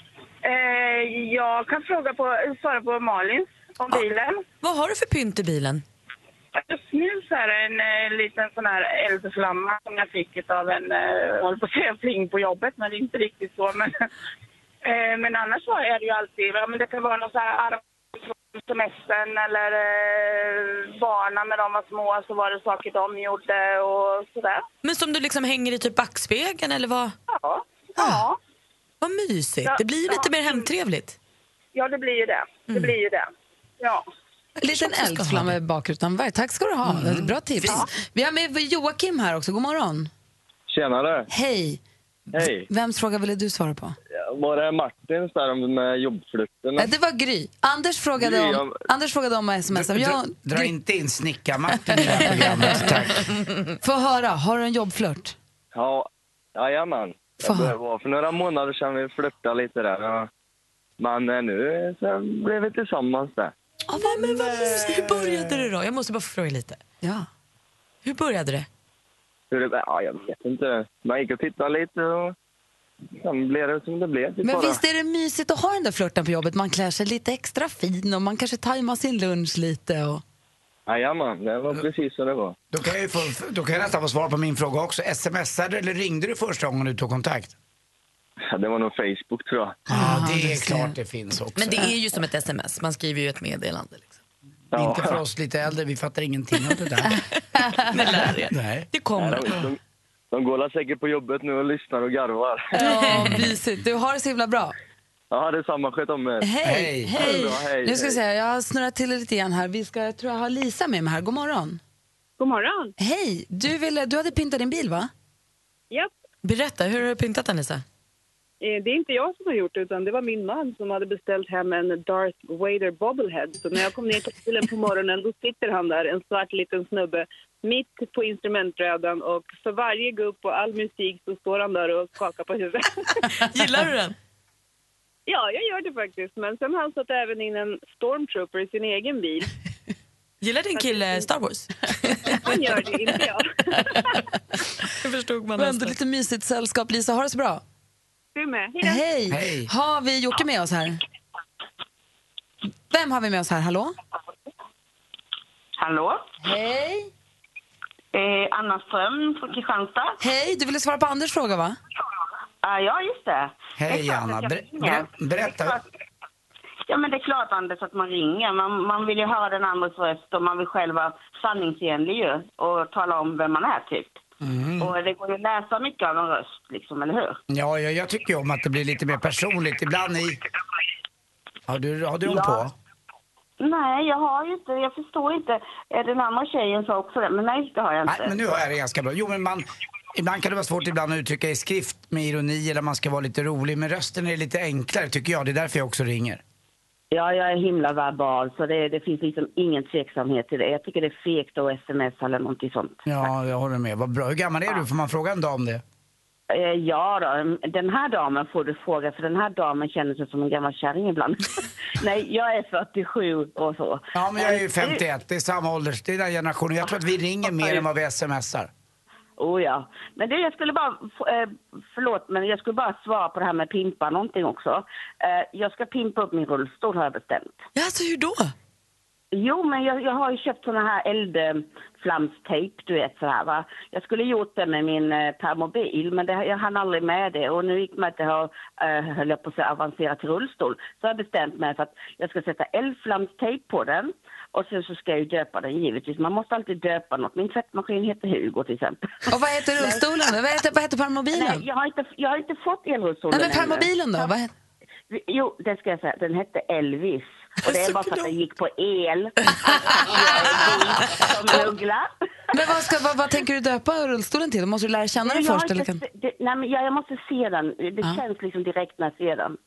Speaker 10: Eh, jag kan fråga på, svara på Malins om bilen.
Speaker 4: Vad har du för pynt i bilen?
Speaker 10: Just nu så är det en eh, liten sån här eldflamma som jag fick av en, eh, jag håller på att säga fling på jobbet, men det är inte riktigt så. Men, eh, men annars så är det ju alltid, ja, men det kan vara någon så här arm semestern eller eh, barnen när de var små så var det saker de gjorde och sådär.
Speaker 4: Men som du liksom hänger i typ backspegeln eller vad?
Speaker 10: Ja.
Speaker 2: Ah.
Speaker 4: ja. Vad mysigt.
Speaker 10: Ja,
Speaker 4: Det blir ju lite
Speaker 10: ja.
Speaker 4: mer hemtrevligt.
Speaker 10: Ja, det blir ju det. Det
Speaker 2: Mm.
Speaker 10: blir ju det. Ja.
Speaker 1: En liten eldflamma i bakrutan. Varje- Tack ska du ha. Bra tips. Vi har med Joakim här också. God morgon.
Speaker 11: Tjenare!
Speaker 1: Hej.
Speaker 11: Hej!
Speaker 1: Vems fråga ville du svara på?
Speaker 11: Var det Martins där om- med jobbflytten?
Speaker 1: Eh, Det var Gry. Anders frågade
Speaker 11: Gry,
Speaker 1: om,
Speaker 11: jag-
Speaker 1: Anders frågade om sms.
Speaker 2: Dra,
Speaker 1: Jag,
Speaker 2: dra inte in snickarmatten i det här programmet, tack.
Speaker 1: Få höra, har du en jobbflört?
Speaker 11: Ja, jajamän.
Speaker 1: Fan.
Speaker 11: Det var för några månader sedan vi flörtade lite där. ja. Men eh, nu så blev vi tillsammans där.
Speaker 4: Ja, vad, men vad mysigt. Hur började det då? Jag måste bara få fråga lite.
Speaker 1: Ja.
Speaker 4: Hur började det?
Speaker 11: Hur det, ja, jag vet inte. Man gick och tittade lite och sen blev det som det blev. typ
Speaker 1: Men
Speaker 11: bara.
Speaker 1: visst är det mysigt att ha den där flörten på jobbet? Man klär sig lite extra fin och man kanske tajmar sin lunch lite. Och...
Speaker 11: Jajamän, det var precis så det var.
Speaker 2: Då kan jag, ju få, då kan jag nästan få svar på min fråga också. Smsade eller ringde du första gången du tog kontakt?
Speaker 11: Ja, Det var nog Facebook tror jag.
Speaker 2: Ja, det är klart det finns också.
Speaker 4: Men det är ju som ett sms. Man skriver ju ett meddelande. Liksom.
Speaker 2: Inte för oss lite äldre, vi fattar ingenting av det där. Nej.
Speaker 4: Det kommer.
Speaker 11: Nej, de, de, de går alla säkert på jobbet nu och lyssnar och garvar.
Speaker 1: Ja, mysigt. Du har det så himla bra.
Speaker 11: Ja, detsamma. Sköt om eh. er.
Speaker 1: Hej!
Speaker 11: Ha det bra, hej!
Speaker 1: Nu ska vi
Speaker 11: hej.
Speaker 1: se, jag har snurrat till det lite igen här. Vi ska, jag tror jag har Lisa med mig här. God morgon.
Speaker 10: God morgon.
Speaker 1: Hej! Du, ville, du hade pyntat din bil, va?
Speaker 10: Japp.
Speaker 4: Berätta, hur har du pyntat den Lisa?
Speaker 10: Eh, Det är inte jag som har gjort det, utan det var min man som hade beställt hem en Darth Vader bobblehead. Så när jag kom ner till bilen på morgonen då sitter han där, en svart liten snubbe, mitt på instrumentbrädan och för varje gupp och all musik så står han där och skakar på huvudet.
Speaker 4: Gillar du den?
Speaker 10: Ja, jag gör det faktiskt. Men sen har han satt även in en stormtrooper i sin egen bil.
Speaker 4: Gillar din kille Star Wars?
Speaker 10: Han gör det, inte jag.
Speaker 4: Det förstod man
Speaker 1: Det var ändå lite mysigt sällskap. Lisa, ha det så bra.
Speaker 10: Du med. Hej då.
Speaker 1: Hej! Har vi Jocke med oss här? Vem har vi med oss här? Hallå?
Speaker 12: Hallå?
Speaker 1: Hej!
Speaker 12: Eh, Anna Ström från Kristianstad.
Speaker 1: Hej, du ville svara på Anders fråga, va?
Speaker 12: Ah, ja, just det. Det är
Speaker 2: Hej
Speaker 12: klart
Speaker 2: Anna,
Speaker 12: att jag
Speaker 2: Ber-
Speaker 12: ringer.
Speaker 2: ber- berätta.
Speaker 12: Ja, men det är klart Anders att man ringer. Man, man vill ju höra den andres röst och man vill själv vara sanningsenlig ju och tala om vem man är typ.
Speaker 2: Mm.
Speaker 12: Och det går ju att läsa mycket av en röst liksom, eller hur?
Speaker 2: Ja, jag, jag tycker ju om att det blir lite mer personligt. Ibland i... Har du, har du dem
Speaker 12: Ja.
Speaker 2: på?
Speaker 12: Nej, jag har ju inte, jag förstår inte. Eh, Den andra tjejen sa också det, men nej det har jag inte.
Speaker 2: Nej, men nu har jag det ganska bra. Jo, men man, ibland kan det vara svårt ibland att uttrycka i skrift med ironi eller man ska vara lite rolig. Men rösten är lite enklare tycker jag. Det är därför jag också ringer.
Speaker 12: Ja, jag är himla verbal så det, det finns liksom ingen tveksamhet till det. Jag tycker det är fegt att smsa eller någonting sånt.
Speaker 2: Ja, jag håller med. Vad bra. Hur gammal är du? Får man fråga en dag om det?
Speaker 12: Eh, Ja då, den här damen får du fråga för den här damen känner sig som en gammal kärring ibland. Nej, jag är 47 och så. Eh,
Speaker 2: Ja, men jag är ju 51. Eh, Det är samma ålder. Det är den generationen. Jag tror att vi ringer mer än vad vi smsar.
Speaker 12: Oh ja. Men du, jag skulle bara, f- eh, förlåt, men jag skulle bara svara på det här med pimpa någonting också. Eh, Jag ska pimpa upp min rullstol har jag bestämt.
Speaker 4: Ja, alltså hur då?
Speaker 12: Jo, men jag, jag har ju köpt såna här eldflamstejp, du vet så här va. Jag skulle gjort det med min eh, permobil, men det, jag hann aldrig med det. Och nu gick man att jag har, eh, höll jag på att säga, avancerat till rullstol. Så har jag bestämt mig för att jag ska sätta eldflamstejp på den. Och sen så ska jag ju döpa den givetvis. Man måste alltid döpa något. Min tvättmaskin heter Hugo till exempel.
Speaker 1: Och vad heter rullstolen? Vad heter, vad heter permobilen?
Speaker 12: Nej, jag har inte, jag har inte fått
Speaker 1: Nej,
Speaker 12: elrullstolen
Speaker 1: men permobilen då? Vad heter?
Speaker 12: ännu. Jo, det ska jag säga. Den hette Elvis. Och det är bara för att den gick på el. Som uggla.
Speaker 1: Men vad, ska, vad, vad tänker du döpa rullstolen till? Måste du lära känna
Speaker 12: Nej,
Speaker 1: den
Speaker 12: jag har
Speaker 1: först? Eller
Speaker 12: inte
Speaker 1: kan...
Speaker 12: se- det, nej, men jag, jag måste se den. Det känns liksom direkt när jag ser den.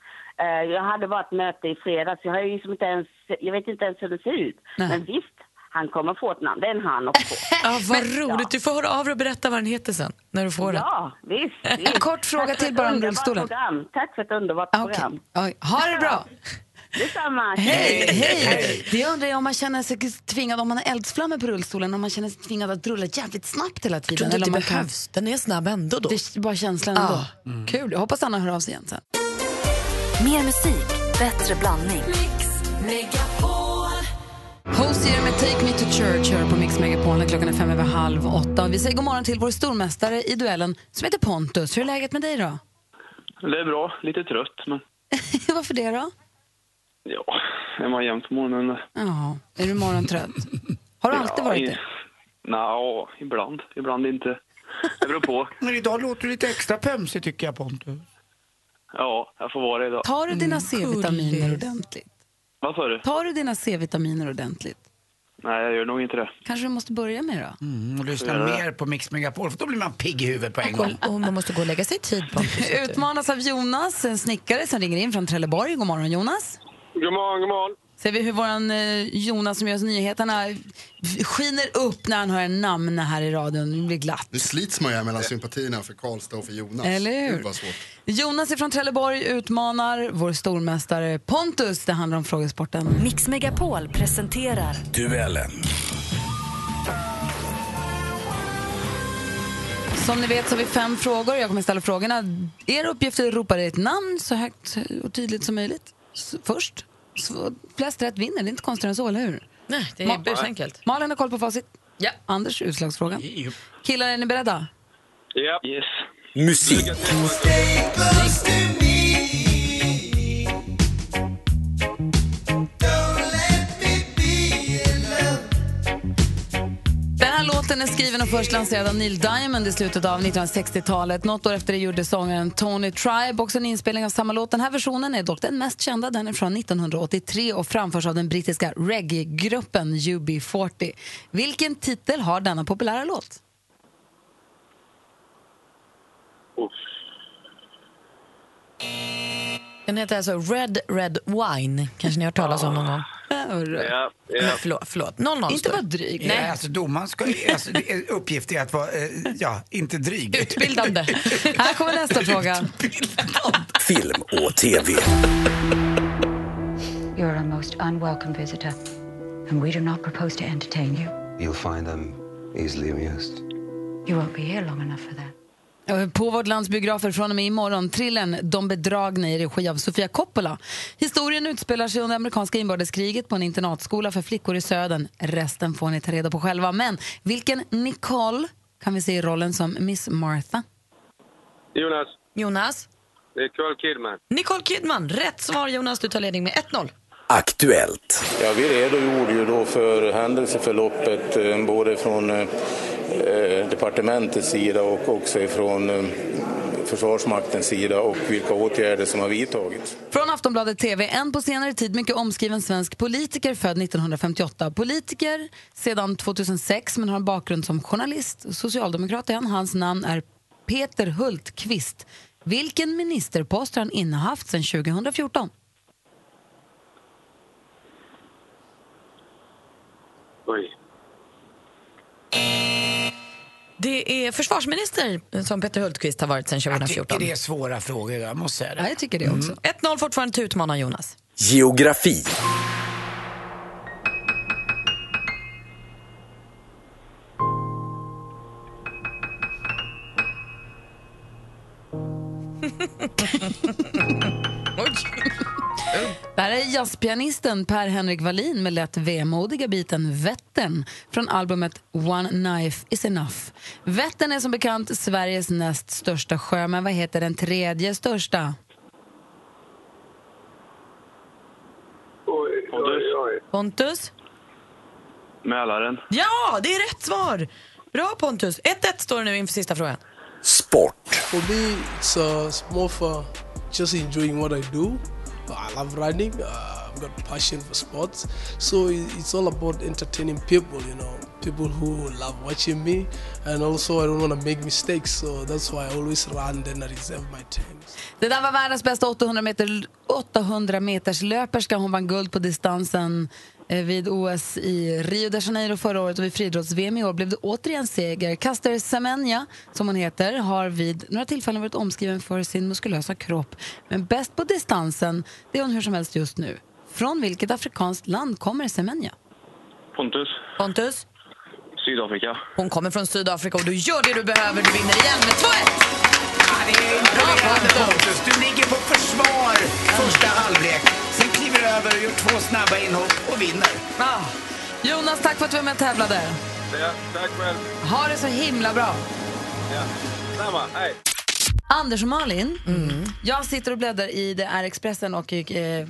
Speaker 12: Eh, jag hade bara ett möte i fredags. Jag, har ju liksom inte ens, jag vet inte ens hur det ser ut. Men visst, han kommer få ett namn. Det är en han också.
Speaker 4: Ja, vad roligt. Du får höra av dig och berätta vad den heter sen när du får den.
Speaker 12: Ja, visst. visst.
Speaker 4: En kort fråga
Speaker 12: Tack för
Speaker 4: till
Speaker 12: ett
Speaker 4: bara Ah, om
Speaker 12: underbart
Speaker 4: rullstolen.
Speaker 12: program. Tack för ett underbart program.
Speaker 1: Ah, Oj, ha det bra!
Speaker 12: Detsamma.
Speaker 1: Hej, hej! Det undrar jag om man känner sig tvingad, om man har eldsflammor på rullstolen, om man känner sig tvingad att rulla jävligt snabbt hela tiden.
Speaker 4: tror inte
Speaker 1: eller om
Speaker 4: det
Speaker 1: man kan-
Speaker 4: behövs. Den är snabb ändå då.
Speaker 1: Det är bara känslan
Speaker 4: Ja.
Speaker 1: ändå. Kul, jag hoppas Anna hör av sig igen sen.
Speaker 6: Mer musik, bättre blandning.
Speaker 1: Hosier med Take Me To Church hör på Mix Megapol när klockan är fem över halv åtta. Vi säger god morgon till vår stormästare i duellen som heter Pontus. Hur är läget med dig då?
Speaker 13: Det är bra. Lite trött, men...
Speaker 1: Varför det då?
Speaker 11: Ja, är man jämt på morgonen?
Speaker 1: Ja, är du morgontrött? Har du alltid varit det?
Speaker 11: Nja, ibland. Ibland inte. Det beror på.
Speaker 2: Men idag låter du lite extra pömsig tycker jag Pontus.
Speaker 11: Ja, jag får vara det idag.
Speaker 1: Tar du dina C-vitaminer ordentligt?
Speaker 11: Vad sa du?
Speaker 1: Tar du dina C-vitaminer ordentligt?
Speaker 11: Nej, jag gör nog inte det.
Speaker 1: Kanske du måste börja med då?
Speaker 2: Mm, och lyssna
Speaker 11: Ja.
Speaker 2: mer på Mix Megapol för då blir man pigg i huvudet på en gång.
Speaker 4: Och man måste gå och lägga sig i tid på
Speaker 1: Utmanas av Jonas, en snickare som ringer in från Trelleborg. God morgon Jonas.
Speaker 13: God morgon, god morgon.
Speaker 1: Ser vi hur våran eh, Jonas som gör oss nyheterna skiner upp när han hör en namn här i radion. Det blir glatt.
Speaker 3: Nu slits man ju här mellan sympatierna för Karlstad och för Jonas.
Speaker 1: Eller hur?
Speaker 3: Gud, vad svårt.
Speaker 1: Jonas från Trelleborg utmanar vår stormästare Pontus. Det handlar om frågesporten.
Speaker 6: Mix Megapol presenterar
Speaker 9: Duellen.
Speaker 1: Som ni vet så har vi fem frågor. Jag kommer ställa frågorna. Er uppgift är att ropa ert namn så högt och tydligt som möjligt S- först. Så flest rätt vinner. Det är inte konstigt än så, eller hur?
Speaker 4: Nej, det är
Speaker 1: Ma-
Speaker 4: busenkelt.
Speaker 1: Malin har koll på facit. Ja. Anders, utslagsfrågan. Killar, är ni beredda?
Speaker 13: Ja. Yes.
Speaker 9: Musik.
Speaker 1: Den här låten är skriven och först lanserad av Neil Diamond i slutet av 1960-talet. Något år efter det gjorde sångaren Tony Tribe också en inspelning av samma låt. Den här versionen är dock den mest kända. Den är från 1983 och framförs av den brittiska reggae-gruppen UB40. Vilken titel har denna populära låt?
Speaker 4: Den heter alltså Red Red Wine. Kanske ni har hört talas om någon gång?
Speaker 2: Ja,
Speaker 4: ja. Förlåt, förlåt. 00
Speaker 2: Inte
Speaker 4: vara
Speaker 1: dryg.
Speaker 2: Nej. Alltså domaren ska alltså, det är- uppgift är att vara, eh, ja, inte dryg.
Speaker 1: Utbildande. Här kommer nästa fråga.
Speaker 9: Film och TV.
Speaker 14: You're a most unwelcome visitor, and we do not propose to entertain you.
Speaker 15: You'll find them easily amused.
Speaker 14: You won't be here long enough for that.
Speaker 1: Eh, På vårt lands biografer från och med imorgon trillen De bedragna i regi av Sofia Coppola. Historien utspelar sig under amerikanska inbördeskriget på en internatskola för flickor i södern. Resten får ni ta reda på själva. Men vilken Nicole kan vi se i rollen som Miss Martha?
Speaker 13: Jonas,
Speaker 4: Jonas?
Speaker 13: det är Nicole Kidman.
Speaker 4: Nicole Kidman. Rätt svar Jonas, du tar ledning med 1-0.
Speaker 9: Aktuellt.
Speaker 16: Ja, vi redogjorde ju då för händelseförloppet eh, både från eh, eh, departementets sida och också från eh, Försvarsmaktens sida och vilka åtgärder som har vidtagits.
Speaker 1: Från Aftonbladet TV, en på senare tid mycket omskriven svensk politiker född 1958. Politiker sedan 2006 men har en bakgrund som journalist. Socialdemokrat är han. Hans namn är Peter Hultqvist. Vilken ministerpost har han innehaft sedan 2014?
Speaker 13: Oj.
Speaker 4: Det är försvarsminister som Peter Hultqvist har varit sedan 2014.
Speaker 2: Jag tycker det är svåra frågor, jag måste säga det.
Speaker 1: jag tycker det också.
Speaker 4: 1-0 fortfarande till utmanaren Jonas.
Speaker 9: Geografi.
Speaker 1: Där är jazzpianisten Per-Henrik Wallin med lätt vemodiga biten Vättern från albumet One Knife Is Enough. Vättern är som bekant Sveriges näst största sjö, men vad heter den tredje största? Pontus?
Speaker 11: Mälaren.
Speaker 4: Ja, det är rätt svar! Bra Pontus. 1-1 står det nu inför sista frågan.
Speaker 9: Sport.
Speaker 17: For me, it's, uh, it's more for just enjoying what I do. I love running. Uh, I've got passion for sports, so i- it's all about entertaining people. You know, people who love watching me, and also I don't want to make mistakes. So that's why I always run. Then I reserve my time.
Speaker 1: Det där var världens bästa 800 meter, 800 meters löperska. Hon vann guld på distansen eh, vid OS i Rio de Janeiro förra året och vid friidrotts-VM i år blev det återigen seger. Caster Semenya, som hon heter, har vid några tillfällen varit omskriven för sin muskulösa kropp. Men bäst på distansen, det är hon hur som helst just nu. Från vilket afrikanskt land kommer Semenya?
Speaker 11: Pontus.
Speaker 4: Pontus?
Speaker 11: Sydafrika.
Speaker 4: Hon kommer från Sydafrika och du gör det du behöver. Du vinner igen med 2-1!
Speaker 2: Bra Pontus, du ligger på försvar första halvlek. Sen kliver du över och gör två snabba inhopp och vinner.
Speaker 1: Ah. Jonas, tack för att du var med och tävlade.
Speaker 13: Ja, tack själv.
Speaker 1: Ha det så himla bra.
Speaker 13: Ja. Samma, hej.
Speaker 1: Anders och Malin, jag sitter och bläddrar i det är Expressen och eh,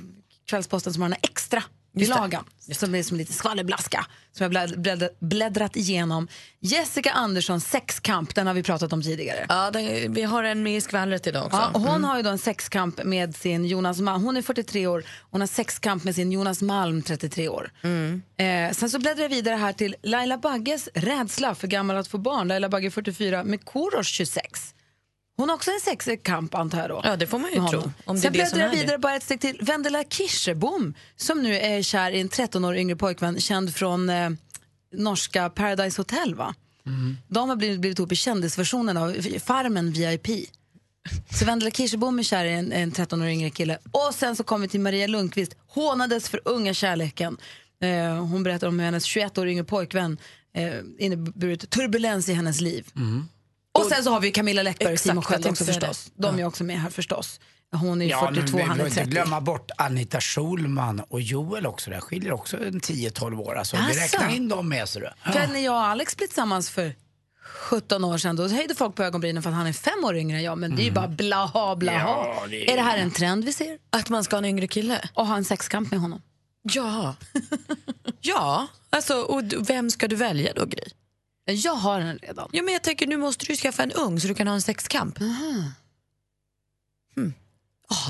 Speaker 1: Kvällsposten som har den här extra bilagan som är som lite skvallerblaska som jag blädd, blädd, bläddrat igenom. Jessica Anderssons sexkamp, den har vi pratat om tidigare.
Speaker 4: Ja, den, vi har en med i skvallret idag också. Mm.
Speaker 1: Ja, och hon har ju då en sexkamp med sin Jonas Malm. Hon är 43 år. Hon har sexkamp med sin Jonas Malm, 33 år.
Speaker 4: Mm.
Speaker 1: Eh, sen så bläddrar jag vidare här till Laila Bagges rädsla för gammal att få barn. Laila Bagge 44 med Korosh 26. Hon har också en sexkamp antar jag då.
Speaker 4: Ja, det får man ju
Speaker 1: Med
Speaker 4: tro,
Speaker 1: honom.
Speaker 4: om det
Speaker 1: Sen
Speaker 4: är det som
Speaker 1: bläddrar jag
Speaker 4: är det.
Speaker 1: vidare bara ett steg till. Vendela Kirsebom som nu är kär i en 13 år yngre pojkvän känd från eh, norska Paradise Hotel va?
Speaker 4: Mm.
Speaker 1: De har blivit, blivit ihop i kändisversionen av Farmen VIP. Så Vendela Kirsebom är kär i en, en 13 år yngre kille. Och sen så kommer vi till Maria Lundqvist, hånades för unga kärleken. Eh, hon berättar om hur hennes 21 år yngre pojkvän eh, inneburit turbulens i hennes liv. Och sen så har vi Camilla Läckberg och
Speaker 2: Mm. Exakt,
Speaker 1: Simon
Speaker 2: jag
Speaker 1: Sköld
Speaker 2: tänkte
Speaker 1: också
Speaker 2: säga det.
Speaker 1: förstås. De är också med här förstås. Hon är ju
Speaker 2: Ja, men
Speaker 1: 42,
Speaker 2: vi
Speaker 1: han
Speaker 2: behöver
Speaker 1: är
Speaker 2: inte
Speaker 1: 30.
Speaker 2: glömma bort Anita Schulman och Joel också. Det skiljer också en 10-12 år. Alltså, vi
Speaker 1: Jaså?
Speaker 2: räknar in dem med. Så du.
Speaker 1: För när jag och Alex blev tillsammans för 17 år sedan, då höjde folk på ögonbrynen för att han är fem år yngre än jag. Men det är
Speaker 2: Mm.
Speaker 1: ju bara blaha, blaha.
Speaker 4: Ja, det är-
Speaker 1: är... det här en trend vi ser?
Speaker 4: Att man ska ha en yngre kille?
Speaker 1: Och ha en sexkamp med honom.
Speaker 4: Ja. ja. Alltså, och d- vem ska du välja då, Gry?
Speaker 1: Jag har den redan.
Speaker 4: Ja, men jag tänker, nu måste du skaffa en ung så du kan ha en sexkamp. Hmm.
Speaker 1: Aha.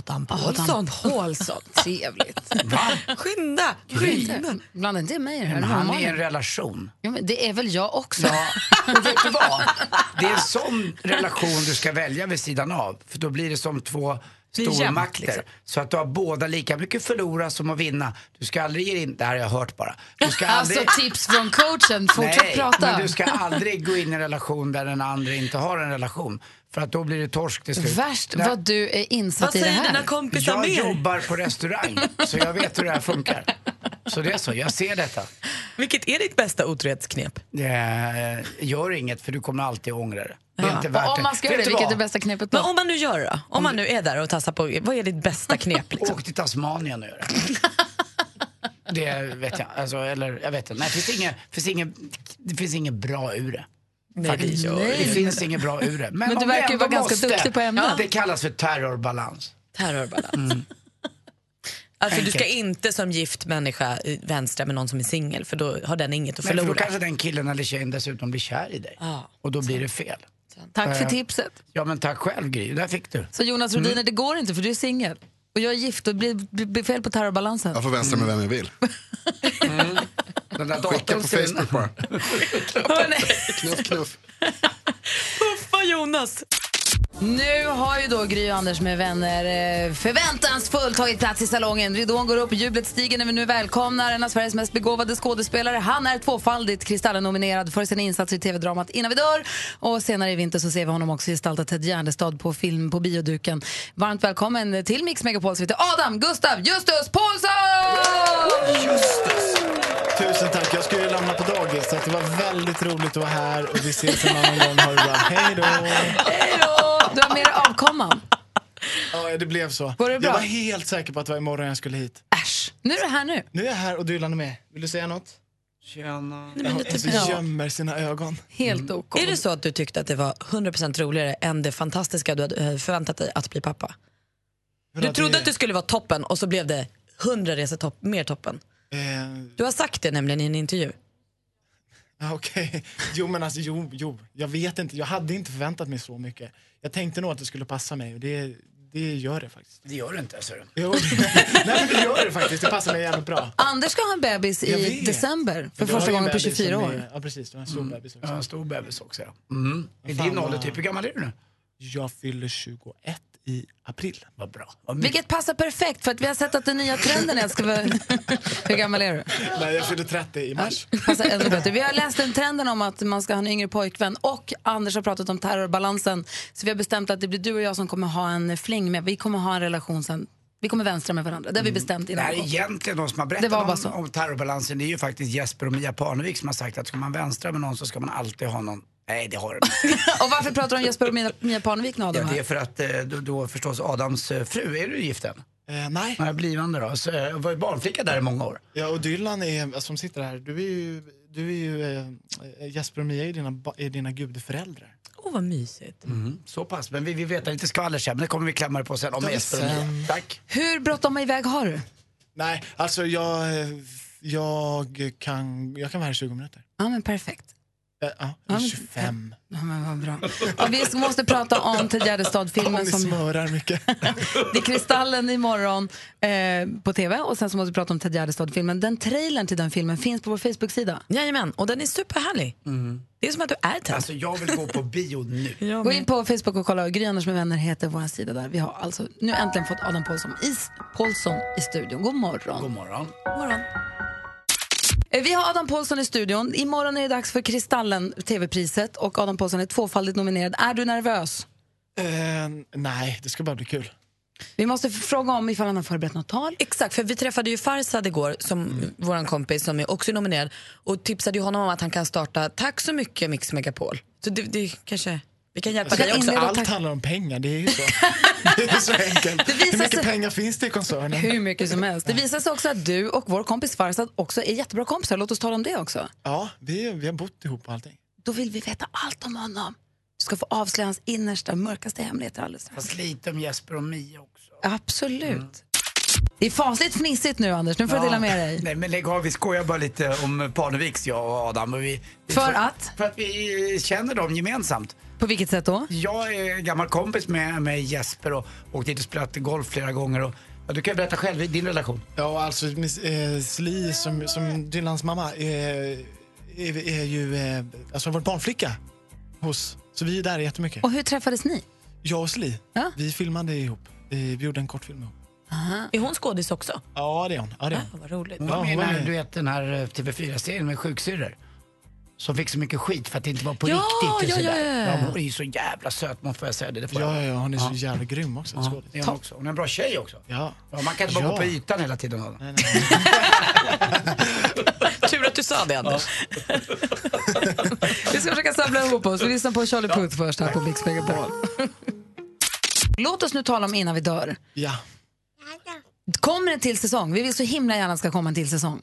Speaker 4: Adam
Speaker 1: Adam
Speaker 4: Paulsson.
Speaker 1: Paulsson, trevligt.
Speaker 4: Skynda!
Speaker 1: Skynda! Blanda inte in mig i det här.
Speaker 2: Men han är i en
Speaker 1: Malin.
Speaker 2: relation.
Speaker 1: ja, men det är väl jag också.
Speaker 2: Det är en sån relation du ska välja vid sidan av. För då blir det som två
Speaker 1: Blir jämnt,
Speaker 2: stormakter.
Speaker 1: liksom.
Speaker 2: Så att du har båda lika mycket förlora som att vinna. Du ska aldrig ge in... Det här har jag hört bara. Du ska aldrig...
Speaker 1: Alltså tips från coachen, fortsätt
Speaker 2: Nej,
Speaker 1: prata.
Speaker 2: men du ska aldrig gå in i en relation där den andra inte har en relation. För att då blir det torsk till slut.
Speaker 1: Värst
Speaker 2: Nej.
Speaker 1: vad du är insatt i det här.
Speaker 2: jag jobbar på restaurang, så jag vet hur det här funkar. Så det är så, jag ser detta.
Speaker 4: Vilket är ditt bästa otrohetsknep?
Speaker 2: Eh, gör inget, för du kommer alltid ångra det. Det är inte
Speaker 1: Och
Speaker 2: värt
Speaker 1: om man ska
Speaker 2: Vet
Speaker 1: göra det,
Speaker 2: du
Speaker 1: vilket är
Speaker 2: vad?
Speaker 1: det bästa knepet då?
Speaker 4: Men om man nu gör det då? Om, man nu är där och tassar på, vad är ditt bästa knep? Liksom?
Speaker 2: Åk till Tasmanien och gör det. Det vet jag, alltså, eller jag vet inte. Nej, det finns inget, finns inget, det finns inget bra ur det.
Speaker 4: Nej,
Speaker 2: Faktiskt.
Speaker 4: det gör
Speaker 2: det
Speaker 4: det inte.
Speaker 2: finns inget bra ur det. Men,
Speaker 1: Men du
Speaker 2: om vi
Speaker 1: verkar ju
Speaker 2: ändå
Speaker 1: vara ganska
Speaker 2: måste,
Speaker 1: duktig på ämnet.
Speaker 2: Det kallas för terrorbalans.
Speaker 4: Terrorbalans.
Speaker 18: Mm.
Speaker 4: Alltså, du ska inte som gift människa eh, vänstra med någon som är singel för då har den inget att
Speaker 2: Men för då
Speaker 4: förlora.
Speaker 2: kanske den killen eller tjejen dessutom blir kär i dig. Och då blir det fel.
Speaker 1: Tack för
Speaker 2: Eh,
Speaker 1: tipset.
Speaker 2: Ja men tack själv Gry, där fick du.
Speaker 1: Så Jonas Rhodiner,
Speaker 2: Mm.
Speaker 1: det går inte för du är singel. Och jag är gift och det blir, blir blir fel på terrorbalansen.
Speaker 3: Jag får vänstra med vem jag vill.
Speaker 2: Den där
Speaker 3: Skicka på Facebook bara. knuff, knuff.
Speaker 4: Puffa Jonas!
Speaker 1: Nu har ju då Gry och Anders med vänner eh, förväntansfullt tagit plats i salongen. Ridån går upp, jublet stiger när vi nu välkomnar en av Sveriges mest begåvade skådespelare. Han är tvåfaldigt Kristallen-nominerad för sina insatser i tv-dramat Innan vi dör. Och senare i vinter så ser vi honom också gestalta Ted Gärdestad på film på bioduken. Varmt välkommen till Mix Megapols heter Adam Gustav Justus Paulsson!
Speaker 18: Tusen tack. Jag ska ju lämna på dagis, så att det var väldigt roligt att vara här. Och vi ses en annan gång. Ha det bra. Hej då!
Speaker 1: Hej då! Du har med dig avkomman.
Speaker 18: Ja, det blev så.
Speaker 1: Var det bra?
Speaker 18: Jag var helt säker på att det var imorgon jag skulle hit.
Speaker 1: Nu är du här nu.
Speaker 18: Nu är jag här och Dylan är med. Vill du säga något?
Speaker 2: Tjena.
Speaker 18: Ja, hon så
Speaker 4: bra.
Speaker 18: gömmer sina ögon.
Speaker 1: Helt ok.
Speaker 4: Mm. Är det så att du tyckte att det var 100% roligare än det fantastiska du hade eh, förväntat dig att bli pappa? Du trodde att du skulle vara toppen och så blev det 100 resor topp, mer toppen.
Speaker 18: Eh,
Speaker 4: Du har sagt det nämligen i en intervju.
Speaker 18: Ja, Okej. Jo, men alltså, jo, jo. Jag vet inte. Jag hade inte förväntat mig så mycket. Jag tänkte nog att det skulle passa mig och det, det gör det faktiskt.
Speaker 2: Det gör det inte, alltså.
Speaker 18: Jo, nej, men det gör det faktiskt. Det passar mig jävligt bra.
Speaker 1: Anders ska ha en bebis
Speaker 18: Jag
Speaker 1: i
Speaker 18: vet.
Speaker 1: december för
Speaker 18: Du har
Speaker 1: första
Speaker 18: ju en
Speaker 1: gången på
Speaker 18: bebis
Speaker 1: 24
Speaker 18: som
Speaker 1: år. Mm.
Speaker 18: Är, ja, precis. Du har en stor bebis också.
Speaker 2: Ja, en stor bebis också. Ja. Mm. I din ålder typ, hur gammal är du nu?
Speaker 18: Jag fyller 21 i april.
Speaker 2: Vad bra.
Speaker 1: Vilket passar perfekt för att vi har sett att den nya trenden är att ska vara... Hur gammal är du?
Speaker 18: Nej, jag fyller 30 i mars.
Speaker 1: Passar Alltså, ännu bättre. Vi har läst den trenden om att man ska ha en yngre pojkvän och Anders har pratat om terrorbalansen. Så vi har bestämt att det blir du och jag som kommer ha en fling med. Vi kommer ha en relation sen. Vi kommer vänstra med varandra. Det har vi bestämt
Speaker 2: Det här
Speaker 1: innan.
Speaker 2: är egentligen de som har
Speaker 1: Det var bara
Speaker 2: berättat
Speaker 1: så.
Speaker 2: om, om terrorbalansen. Det är ju faktiskt Jesper och Mia Parnevik som har sagt att ska man vänstra med någon så ska man alltid ha någon. Nej, det har de inte.
Speaker 1: Och varför pratar du om Jesper och Mia- Mia Parnevik nu Adam?
Speaker 2: Ja, det är
Speaker 1: här?
Speaker 2: för att eh, då, då förstås Adams eh, fru, är du gift än?
Speaker 18: Eh, nej.
Speaker 2: Nej, blivande då. Så, eh, var ju barnflicka där i många år.
Speaker 18: Ja, och Dylan är, alltså, som sitter här, du är ju, du är ju eh, Jesper och Mia är dina, ba- är dina gudföräldrar.
Speaker 4: Åh, vad mysigt.
Speaker 2: Mm, Så pass, men vi, vi vet lite skvaller sen, men det kommer vi klämma er på sen om
Speaker 18: Ja,
Speaker 2: Jesper och Mia.
Speaker 18: sen.
Speaker 2: Tack.
Speaker 1: Hur bråttom iväg har du?
Speaker 18: Nej, alltså jag, jag, kan, jag kan vara här i 20 minuter.
Speaker 1: Ja, men perfekt.
Speaker 18: Eh, Ja,
Speaker 1: Ja, men-
Speaker 18: 25.
Speaker 1: Ja, men vad bra. Ja, vi måste prata om Ted
Speaker 18: Ja,
Speaker 1: Gärdestad-filmen.
Speaker 18: ni
Speaker 1: Som...
Speaker 18: smörar mycket.
Speaker 1: Det är Kristallen imorgon eh, på tv och sen så måste vi prata om Ted Gärdestad-filmen. Den trailern till den filmen finns på vår Facebook-sida.
Speaker 4: Jajamän, och den är superhärlig.
Speaker 18: Mm.
Speaker 4: Det är som att du är Ted.
Speaker 2: Alltså jag vill gå på bio nu.
Speaker 1: Gå in på Facebook och kolla. Gry Anders med vänner heter vår sida där. Vi har alltså nu äntligen fått Adam Paulsson i, Paulsson i studion. God morgon.
Speaker 2: God morgon.
Speaker 1: Eh, Vi har Adam Paulsson i studion. Imorgon är det dags för Kristallen TV-priset och Adam Paulsson är tvåfaldigt nominerad. Är du nervös?
Speaker 18: Eh, nej, det ska bara bli kul.
Speaker 1: Vi måste f- fråga om ifall han har förberett något tal.
Speaker 4: Exakt, för vi träffade ju Farsad igår, som
Speaker 18: Mm.
Speaker 4: vår kompis som är också nominerad och tipsade ju honom om att han kan starta Tack så mycket Mix Megapol. Så det, det kanske, vi kan hjälpa
Speaker 18: Alltså,
Speaker 4: dig
Speaker 18: det är
Speaker 4: också.
Speaker 18: också, allt handlar om pengar, det är ju så. det är så enkelt.
Speaker 1: Det
Speaker 18: Hur
Speaker 1: visar
Speaker 18: mycket
Speaker 1: sig-
Speaker 18: pengar finns det i koncernen?
Speaker 1: Hur mycket som helst. Det visar sig också att du och vår kompis Farsad också är jättebra kompisar. Låt oss tala om det också.
Speaker 18: Ja, vi, vi har bott ihop och allting.
Speaker 1: Då vill vi veta allt om honom. Du ska få avslöja hans innersta, mörkaste hemligheter alldeles strax.
Speaker 2: Fast lite om Jesper och Mia också.
Speaker 1: Absolut. Mm. Det är fasligt fnissigt nu, Anders. Nu får du dela med dig.
Speaker 2: Nej men lägg av, vi skojar bara lite om Parneviks, jag och Adam. Och vi, vi
Speaker 1: För att?
Speaker 2: För att vi känner dem gemensamt.
Speaker 1: På vilket sätt då?
Speaker 2: Jag är gammal kompis med, med Jesper och åkt dit och spelat golf flera gånger. Och, ja, du kan berätta själv, i din relation.
Speaker 18: Ja, alltså miss, eh, Sli som, som Dylans mamma eh, är, är ju, eh, alltså har varit barnflicka hos, så vi är där jättemycket.
Speaker 1: Och hur träffades ni?
Speaker 18: Jag och Sli, vi filmade ihop. Eh, vi gjorde en kortfilm ihop.
Speaker 4: Är hon skådis också?
Speaker 18: Ja, det är hon. Ja, det är
Speaker 4: hon. vad roligt.
Speaker 2: Hon
Speaker 18: Ja,
Speaker 2: var med i
Speaker 18: hon
Speaker 2: den
Speaker 18: var
Speaker 2: här,
Speaker 18: med.
Speaker 2: du vet, den här eh, TV4-serien med sjuksyrror. Som fick så mycket skit för att det inte var på
Speaker 18: Ja,
Speaker 2: riktigt.
Speaker 18: ja,
Speaker 2: och sådär.
Speaker 18: ja, ja, ja.
Speaker 2: Ja, hon är ju så jävla söt, man får jag säga det. det får
Speaker 18: Ja,
Speaker 2: jag.
Speaker 18: ja, hon är så jävla grym också.
Speaker 2: Ja, det är hon, också. hon är en bra tjej också.
Speaker 18: Ja.
Speaker 2: Ja, man kan inte bara
Speaker 18: Ja.
Speaker 2: gå på ytan hela tiden. Adam.
Speaker 4: Tur att du sa det, Anders.
Speaker 1: Vi ska försöka samla ihop oss. Vi lyssnar på Charlie Puth först här på Mix Megapol. Låt oss nu tala om innan vi dör.
Speaker 18: Ja.
Speaker 1: Kommer en till säsong? Vi vill så himla gärna att det ska komma en till säsong.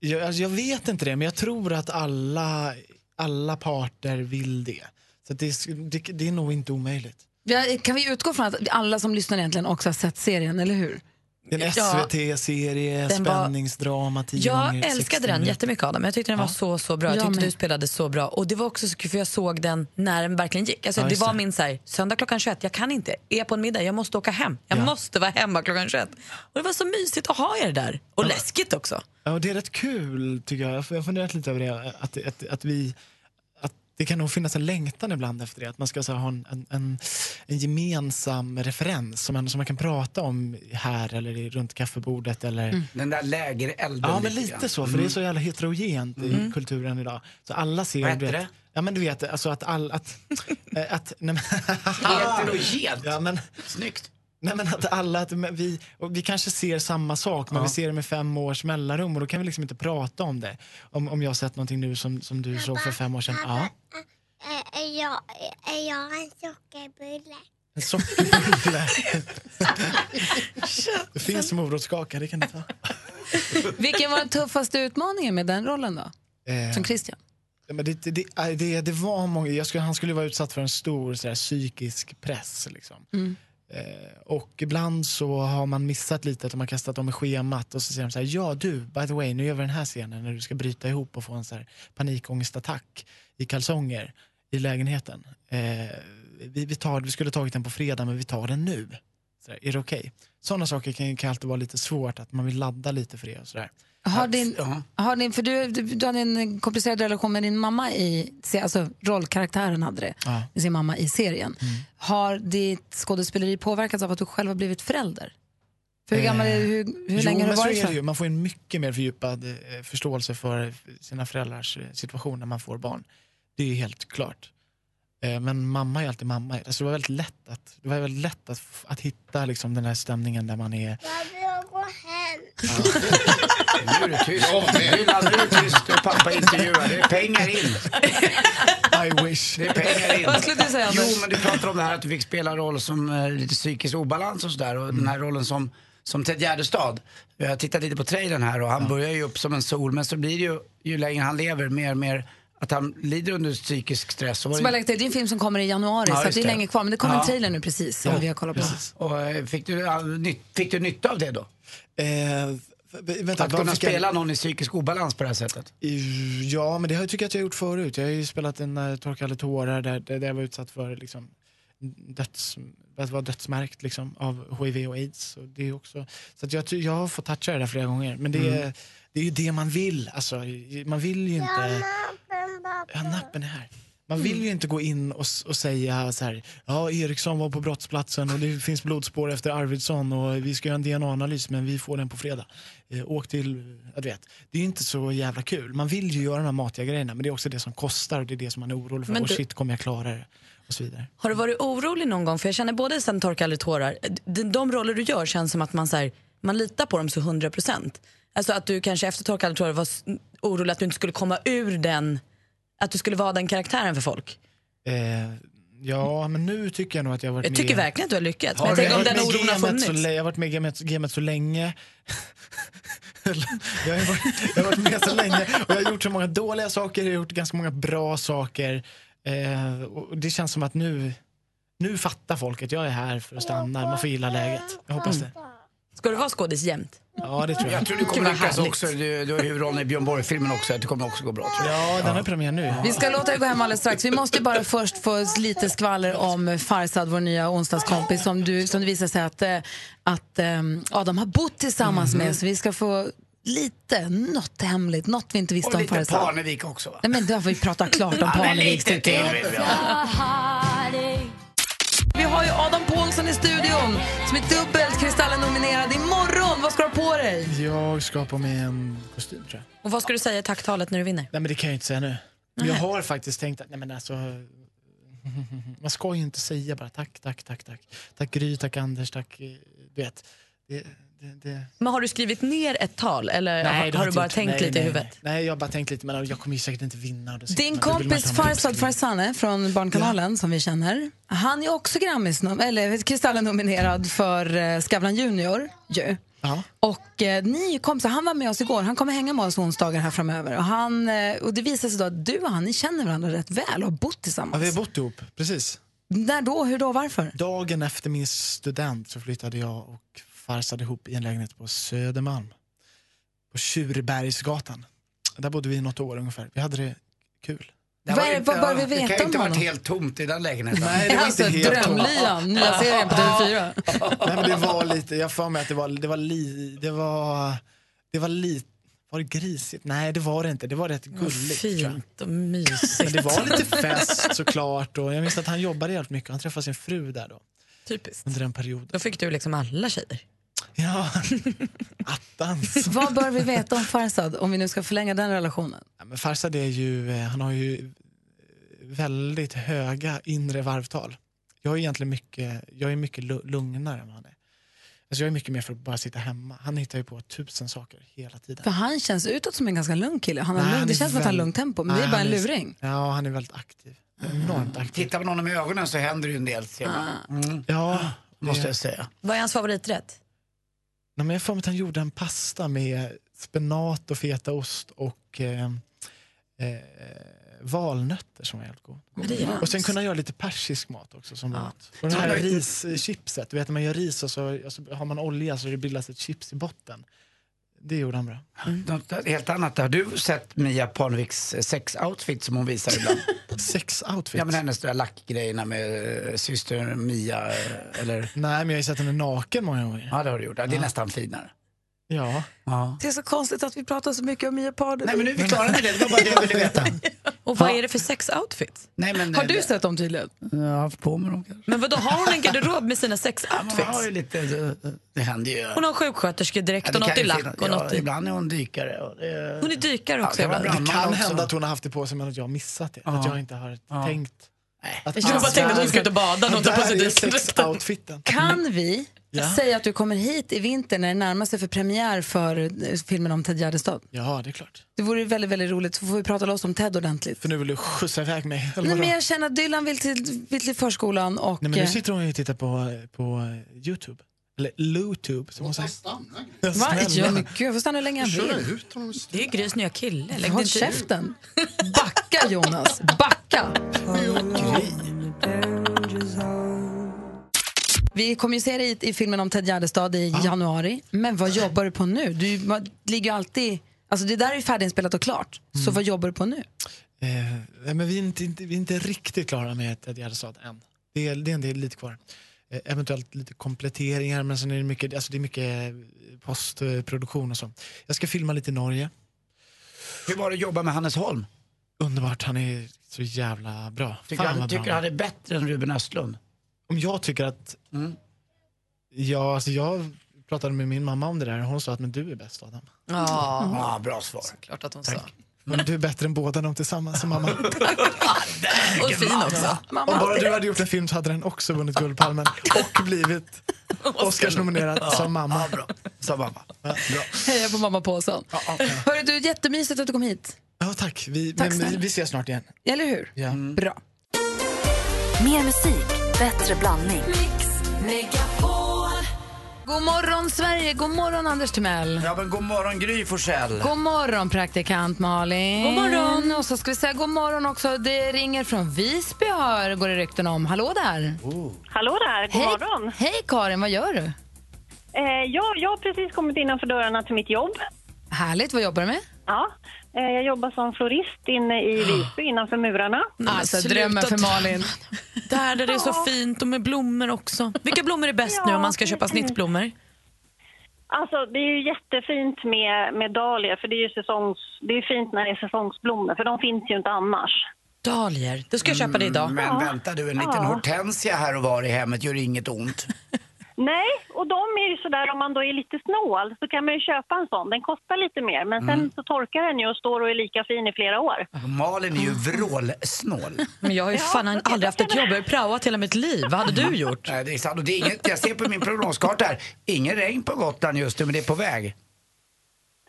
Speaker 18: Jag, alltså, jag vet inte det, men jag tror att alla, alla parter vill det. Så att det, sk- det, det är nog inte omöjligt.
Speaker 1: Vi- Kan vi utgå från att alla som lyssnar egentligen också har sett serien, eller hur?
Speaker 18: Det är en
Speaker 1: Ja.
Speaker 18: SVT-serie,
Speaker 1: Den var-
Speaker 18: spänningsdrama, tio
Speaker 4: Jag
Speaker 18: gånger 60
Speaker 4: älskade den
Speaker 18: minuter.
Speaker 4: jättemycket Adam. Jag tyckte den var så, så bra. Jag
Speaker 1: Jag
Speaker 4: tyckte
Speaker 1: med.
Speaker 4: du spelade så bra. Och det var också så kul för jag såg den när den verkligen gick. Alltså,
Speaker 18: Ja,
Speaker 4: det
Speaker 18: just
Speaker 4: var
Speaker 18: det.
Speaker 4: min så här, söndag klockan 21, jag kan inte. Är jag på en middag, jag måste åka hem. Jag
Speaker 18: Ja.
Speaker 4: måste vara hemma klockan 21. Och det var så mysigt att ha er där. Och läskigt också.
Speaker 18: Ja, och det är rätt kul tycker jag. Jag har funderat lite över det. Att, att, att vi... Att det kan nog finnas en längtan ibland efter det. Att man ska så här, ha en, en, en, en gemensam referens som man, som man kan prata om här eller i- runt kaffebordet. Eller...
Speaker 2: Den där lägerelden.
Speaker 18: Ja, men
Speaker 2: grann.
Speaker 18: lite så. För
Speaker 2: Mm.
Speaker 18: det är så jävla heterogent i
Speaker 2: Mm.
Speaker 18: kulturen idag. Så alla ser...
Speaker 2: Vad
Speaker 18: du
Speaker 2: heter
Speaker 18: vet,
Speaker 2: det?
Speaker 18: Ja, men du vet, alltså att... All, att, eh, att nej, men,
Speaker 2: Heterogent.
Speaker 18: Ah. Ja, men,
Speaker 2: Snyggt.
Speaker 18: Nej, men att alla, att men vi, och vi kanske ser samma sak, men
Speaker 2: Ja.
Speaker 18: vi ser det med fem års mellanrum och då kan vi liksom inte prata om det. Om, om jag har sett någonting nu som, som du såg för fem år sedan. Ja,
Speaker 19: Är jag, är jag en sockerbulle?
Speaker 18: en sockerbulle. det finns morotskaka, det kan du ta.
Speaker 1: Vilken var den tuffaste utmaningen med den rollen då?
Speaker 18: Eh,
Speaker 1: Som Christian?
Speaker 18: Ja, Men det, det- det, äh, det, det var många, jag skulle, han skulle vara utsatt för en stor så här, psykisk press. Liksom. Eh, och ibland så har man missat lite, att de har kastat om i schemat och så säger de så här, ja du, by the way, nu gör vi den här scenen när du ska bryta ihop och få en så här, panikångestattack i kalsonger i lägenheten. Eh, vi, vi, tar, vi skulle ha tagit den på fredag men vi tar den nu. Så där, är det okej? Sådana saker kan, kan alltid vara lite svårt, att man vill ladda lite för det och sådär.
Speaker 1: Har din, har din, för du, du, du hade en komplicerad relation med din mamma i, se- alltså rollkaraktären hade det,
Speaker 18: Ja. Mm.
Speaker 1: med sin mamma i serien. Har ditt skådespeleri påverkats av att du själv har blivit förälder? För hur gammal är du? Hur, hur
Speaker 18: Eh, jo,
Speaker 1: länge har
Speaker 18: men
Speaker 1: du
Speaker 18: så
Speaker 1: varit
Speaker 18: är det ju.
Speaker 1: förälder?
Speaker 18: Man får en mycket mer fördjupad eh, förståelse för sina föräldrars eh, situation när man får barn. Det är ju helt klart. Eh, Men mamma är alltid mamma. Alltså det var väldigt lätt att, det var väldigt lätt att, f- att hitta liksom den här stämningen där man är...
Speaker 19: Jag vill gå hem.
Speaker 2: Nu är du tyst. Dylan, nu är du tyst och pappa intervjuar. Det är pengar in.
Speaker 18: I wish.
Speaker 2: Det är pengar in.
Speaker 1: Vad skulle du säga,
Speaker 2: Jo,
Speaker 1: Anders?
Speaker 2: men du pratar om det här att du fick spela roll som eh, lite psykisk obalans och sådär. Och den här
Speaker 18: Mm.
Speaker 2: rollen som, som Ted Gärdestad. Jag har tittat lite på trailern här och han börjar ju upp som en sol. Men så blir det ju, ju längre han lever, mer och mer att han lider under psykisk stress. Och var
Speaker 1: Som
Speaker 2: det-
Speaker 1: jag lagt till, det är en film som kommer i januari
Speaker 2: Ja,
Speaker 1: så att
Speaker 2: just
Speaker 1: det är
Speaker 2: det.
Speaker 1: länge kvar. Men det kommer
Speaker 2: Ja.
Speaker 1: en trailer nu precis som vi har kollat på.
Speaker 2: Och, eh, fick, du, all, nytt- fick du nytta av det då?
Speaker 18: Eh, f- v- vänta,
Speaker 2: att
Speaker 18: vad
Speaker 2: kunna
Speaker 18: fick jag-
Speaker 2: spela någon i psykisk obalans på det här sättet.
Speaker 18: I- Ja, men det har jag tycker jag att jag har gjort förut. Jag har ju spelat en när Torka alla tårar där, där där jag var utsatt för liksom, döds, att vara dödsmärkt liksom, av hiv och aids. Och det är också, så att jag, ty- jag har fått toucha det där flera gånger. Men det, är-
Speaker 2: Mm.
Speaker 18: det är ju det man vill. Alltså, i- man vill ju inte... Ja, nappen är här. Man vill
Speaker 4: Mm.
Speaker 18: ju inte gå in och, s- och säga så här, ja Eriksson var på brottsplatsen och det finns blodspår efter Arvidsson och vi ska göra en DNA-analys men vi får den på fredag. Eh, åk till, ja, du vet. Det är ju inte så jävla kul. Man vill ju göra de här matiga grejerna men det är också det som kostar och det är det som man är orolig för.
Speaker 4: Men
Speaker 18: Och
Speaker 4: du-
Speaker 18: shit, kommer jag klara det? Och så vidare.
Speaker 4: Har du varit orolig någon gång? För jag känner både i sen torka aldrig tårar, de, de roller du gör känns som att man, så här, man litar på dem så 100 procent. Alltså att du kanske efter torka aldrig tårar var s- orolig att du inte skulle komma ur den, att du skulle vara den karaktären för folk.
Speaker 18: Eh, ja, men nu tycker jag nog att jag har varit
Speaker 4: Jag tycker
Speaker 18: med-
Speaker 4: verkligen att du har lyckats, men
Speaker 18: Har
Speaker 4: jag
Speaker 18: du-
Speaker 4: tänker om
Speaker 18: jag
Speaker 4: den
Speaker 18: varit med i
Speaker 4: oron har
Speaker 18: gamet
Speaker 4: funnits.
Speaker 18: Så, lä- jag har varit med i gamet, gamet så länge. jag, har varit, jag har varit med så länge och jag har gjort så många dåliga saker, jag har gjort ganska många bra saker. Eh, och det känns som att nu, nu fattar folk att jag är här för att stanna. Man får gilla läget. Jag hoppas det.
Speaker 4: Ska du vara skådis jämt?
Speaker 18: Ja, det tror jag.
Speaker 2: Jag tror du kommer lyckas också. Du, du har huvudrollen i Björn Borg-filmen också. att Det kommer också gå bra tror jag.
Speaker 18: Ja, den har premiär nu.
Speaker 1: Vi ska låta er gå hem alldeles strax. Vi måste bara först få lite skvaller om Farsad, vår nya onsdagskompis som, du, som det visar sig att, eh, att eh, Adam har bott tillsammans
Speaker 2: Mhm.
Speaker 1: med. Så vi ska få lite, något hemligt, något vi inte visste
Speaker 2: Och
Speaker 1: om
Speaker 2: lite
Speaker 1: Farsad.
Speaker 2: Parnevik också va?
Speaker 1: Nej men då har vi pratat klart om
Speaker 2: Ja, men
Speaker 1: Parnevik.
Speaker 2: lite till vill vi ha.
Speaker 1: Vi har ju Adam Pålsson i studion som är dubbelt Kristallen-nominerad imorgon. Vad ska du ha på dig?
Speaker 18: Jag ska på mig en kostym tror jag.
Speaker 4: Och vad ska du säga i tacktalet när du vinner?
Speaker 18: Nej men det kan jag inte säga nu. Jag har faktiskt tänkt att, nej men alltså. Man ska ju inte säga bara tack, tack, tack, tack. Tack Gry, tack Anders, tack, eh, du vet. Det, det, det.
Speaker 4: Men har du skrivit ner ett tal eller har,
Speaker 18: det
Speaker 4: har du
Speaker 18: jag inte
Speaker 4: bara
Speaker 18: gjort.
Speaker 4: tänkt
Speaker 18: Nej,
Speaker 4: lite
Speaker 18: nej,
Speaker 4: i huvudet?
Speaker 18: Nej. nej, jag har bara tänkt lite men jag kommer ju säkert inte vinna. Och då sitter
Speaker 1: Din
Speaker 18: man- då vill man
Speaker 1: kompis
Speaker 18: inte ha någon
Speaker 1: Farsad Farsane från Barnkanalen som vi känner, han är också Grammis, eller Kristallen-nominerad för eh, Skavlan Junior ju.
Speaker 18: Ja.
Speaker 1: Och eh, ni kom, så han var med oss igår, han kommer hänga med oss onsdagar här framöver. Och, han, eh, och det visar sig då att du och han, ni känner varandra rätt väl och har bott
Speaker 18: Ja,
Speaker 1: tillsammans.
Speaker 18: vi har bott ihop, precis.
Speaker 1: När då, hur då, varför?
Speaker 18: Dagen efter min student så flyttade jag och farsade ihop i en lägenhet på Södermalm. På Tjurbergsgatan. Där bodde vi i något år ungefär. Vi hade det kul.
Speaker 2: Det, var inte, det kan ju inte varit helt tomt i den lägenheten.
Speaker 18: Nej, det var inte helt
Speaker 1: Drömlyan, nya serien på TV4.
Speaker 18: Nej, men det var lite, jag får mig att det var, det var li, det var, det var lite, var det grisigt? Nej det var det inte, det var rätt gulligt. tror jag.
Speaker 4: Fint och mysigt.
Speaker 18: Men det var lite fest såklart och jag minns att han jobbade jävligt mycket, han träffade sin fru där då.
Speaker 4: Typiskt.
Speaker 18: Under den perioden.
Speaker 4: Då fick du liksom alla tjejer.
Speaker 18: Ja, attans.
Speaker 1: Vad bör vi veta om Farsad om vi nu ska förlänga den relationen?
Speaker 18: Ja, Men Farsad är ju, eh, han har ju väldigt höga inre varvtal. Jag är egentligen mycket, jag är mycket lu- lugnare än vad han är. Alltså jag är mycket mer för att bara sitta hemma. Han hittar ju på tusen saker hela tiden.
Speaker 1: För han känns utåt som en ganska lugn kille. Han har
Speaker 18: Nej,
Speaker 1: lugn,
Speaker 18: han
Speaker 1: det
Speaker 18: är
Speaker 1: känns som att han har
Speaker 18: väl-
Speaker 1: lugnt tempo, men det
Speaker 18: Nej,
Speaker 1: är bara en
Speaker 18: han
Speaker 1: luring.
Speaker 18: Ja, han är väldigt aktiv. Enormt aktiv.
Speaker 2: Tittar man honom i ögonen så händer ju en del. ser man. Mm.
Speaker 18: Ja,
Speaker 2: Måste jag säga.
Speaker 4: Vad är hans favoriträtt?
Speaker 18: Nej, men jag får mig att han gjorde en pasta med spenat och fetaost och eh, eh, valnötter som var jävligt god.
Speaker 4: Men det är
Speaker 18: Och sen
Speaker 4: hemskt.
Speaker 18: kunde han göra lite persisk mat också som mat. Och det här rischipset, du vet när man gör ris och så, och så har man olja så det bildas ett chips i botten. Det gjorde han bra.
Speaker 2: Något helt annat. Har du sett Mia Parneviks sex-outfit som hon visar ibland?
Speaker 18: Sex outfits?
Speaker 2: Ja, men hennes där lackgrejerna med eh, syster Mia eh, eller...
Speaker 18: Nej men jag har ju sett henne naken många gånger.
Speaker 2: Ja, det har du gjort. Ja, det är nästan finare.
Speaker 18: Ja.
Speaker 2: Ja.
Speaker 1: Det är så konstigt att vi pratar så mycket om Mia Parnevik.
Speaker 2: Nej, men nu är vi klara med det. Det var bara det jag ville veta.
Speaker 4: Och vad är det för sex outfits?
Speaker 2: Nej, men,
Speaker 1: Har du sett dem tydligen?
Speaker 2: Jag har haft på mig dem kanske.
Speaker 4: Men vadå, har hon en garderob med sina sex
Speaker 2: Man har
Speaker 4: outfits?
Speaker 2: ju lite... eh, Det händer ju.
Speaker 4: Hon har sjuksköterskedräkt och
Speaker 2: det
Speaker 4: något
Speaker 2: kan
Speaker 4: i
Speaker 2: ju
Speaker 4: lack
Speaker 2: finnas-
Speaker 4: och något
Speaker 2: ja,
Speaker 4: i...
Speaker 2: Ibland är hon dykare. Och det...
Speaker 4: Hon är dykare också
Speaker 2: Ja, det var
Speaker 4: ibland.
Speaker 2: bra.
Speaker 18: Det
Speaker 2: Man
Speaker 18: kan
Speaker 2: också.
Speaker 18: hända att hon har haft det på sig men att jag har missat det. Att
Speaker 2: Ja.
Speaker 18: jag inte har
Speaker 2: Ja.
Speaker 18: tänkt. Att
Speaker 4: Jag bara tänkte att hon ska ut och bada,
Speaker 18: Ja,
Speaker 4: någon tar på sig
Speaker 18: där är
Speaker 4: dykdräkten.
Speaker 18: sex-outfiten.
Speaker 1: Kan vi
Speaker 18: Mm. Ja.
Speaker 1: säga att du kommer hit i vinter när det närmar sig för premiär för eh, filmen om Ted Gärdestad?
Speaker 18: Ja, det är klart.
Speaker 1: Det vore väldigt, väldigt roligt, så får vi prata loss om Ted ordentligt.
Speaker 18: För nu vill du skjutsa iväg mig? eller
Speaker 1: Nej,
Speaker 18: vadå?
Speaker 1: men jag känner att Dylan vill till, vill till förskolan och...
Speaker 18: Nej, men nu
Speaker 1: eh,
Speaker 18: sitter hon ju och tittar på, på Youtube. Eller Lutube som hon säger.
Speaker 1: Va?
Speaker 18: Snälla.
Speaker 1: Ja, men gud, jag får stanna hur länge
Speaker 18: Kör
Speaker 1: han
Speaker 18: dig
Speaker 1: vill.
Speaker 4: Det är ju Grys nya kille. Lägg
Speaker 1: Håll
Speaker 4: dig inte i.
Speaker 1: käften. Backa, Jonas. Backa. Vi kommer ju se dig i, i filmen om Ted Gärdestad i januari. Men vad jobbar du på nu? Du man, ligger ju alltid... Alltså det där är ju färdiginspelat och klart. Så
Speaker 18: Mm.
Speaker 1: vad jobbar du på nu?
Speaker 18: Eh, nej, men vi, är inte, inte, vi är inte riktigt klara med Ted Gärdestad än. Det är, det är en del lite kvar. Eh, eventuellt lite kompletteringar men sen är det mycket, alltså det är mycket eh, postproduktion och så. Jag ska filma lite i Norge.
Speaker 2: Hur var det att jobba med Hannes Holm?
Speaker 18: Underbart, han är så jävla bra.
Speaker 2: Tycker
Speaker 18: Fan,
Speaker 2: han-
Speaker 18: vad
Speaker 2: tycker
Speaker 18: bra
Speaker 2: han är bättre än Ruben Östlund?
Speaker 18: Om jag tycker att...
Speaker 2: Mm.
Speaker 18: Ja, alltså jag pratade med min mamma om det där och hon sa att men du är bäst Adam.
Speaker 4: Ja.
Speaker 2: Ja, bra svar.
Speaker 4: Klart att hon sa.
Speaker 18: Men du är bättre än båda dem tillsammans, sa mamma.
Speaker 4: Och fin också.
Speaker 18: Om bara du hade gjort en film så hade den också vunnit Guldpalmen och blivit Oscarsnominerad som mamma.
Speaker 2: Sa mamma.
Speaker 1: Heja på mamma Pålsson. Hörru du, jättemysigt att du kom hit.
Speaker 18: Ja, tack. Vi,
Speaker 1: Tack
Speaker 18: men, vi,
Speaker 1: snälla.
Speaker 18: vi ses snart igen.
Speaker 1: Eller hur?
Speaker 18: Ja.
Speaker 1: Bra.
Speaker 6: Mer musik, bättre blandning.
Speaker 1: God morgon Sverige, god morgon Anders Timell.
Speaker 2: Ja, men god morgon Gry Forssell.
Speaker 1: God morgon praktikant Malin.
Speaker 2: God morgon.
Speaker 1: Och så ska vi säga god morgon också. Det ringer från Visby hör, går det rykten om. Hallå där.
Speaker 20: Hallå där, god
Speaker 1: Hej.
Speaker 20: morgon.
Speaker 1: Hej Karin, vad gör du?
Speaker 20: Eh, ja, jag har precis kommit innanför dörrarna till mitt jobb.
Speaker 1: Härligt, vad jobbar du med?
Speaker 20: Ja, eh, jag jobbar som florist inne i Visby innanför murarna.
Speaker 1: Alltså, drömmen för Malin.
Speaker 4: Där, där det är så fint och med blommor också. Vilka blommor är bäst nu om man ska köpa snittblommor?
Speaker 20: Alltså, det är ju jättefint med, med dahlia, för det är ju säsongs, det är fint när det är säsongsblommor, för de finns ju inte annars.
Speaker 4: Dahlior. Då ska jag köpa det idag.
Speaker 2: Mm, Men vänta du, en liten
Speaker 20: Ja.
Speaker 2: hortensia här och var i hemmet gör inget ont.
Speaker 20: Nej, och de är ju sådär om man då är lite snål så kan man ju köpa en sån. Den kostar lite mer, men
Speaker 21: Mm.
Speaker 20: sen så torkar den ju och står och är lika fin i flera år.
Speaker 2: Malin är ju vrålsnål.
Speaker 4: Men jag har ju fan aldrig haft ett jobb. Jag har ju praoat hela mitt liv. Vad hade du gjort?
Speaker 2: Nej, det är sant. Och det är inget, jag ser på min prognoskarta här, ingen regn på Gotland just nu, men det är på väg.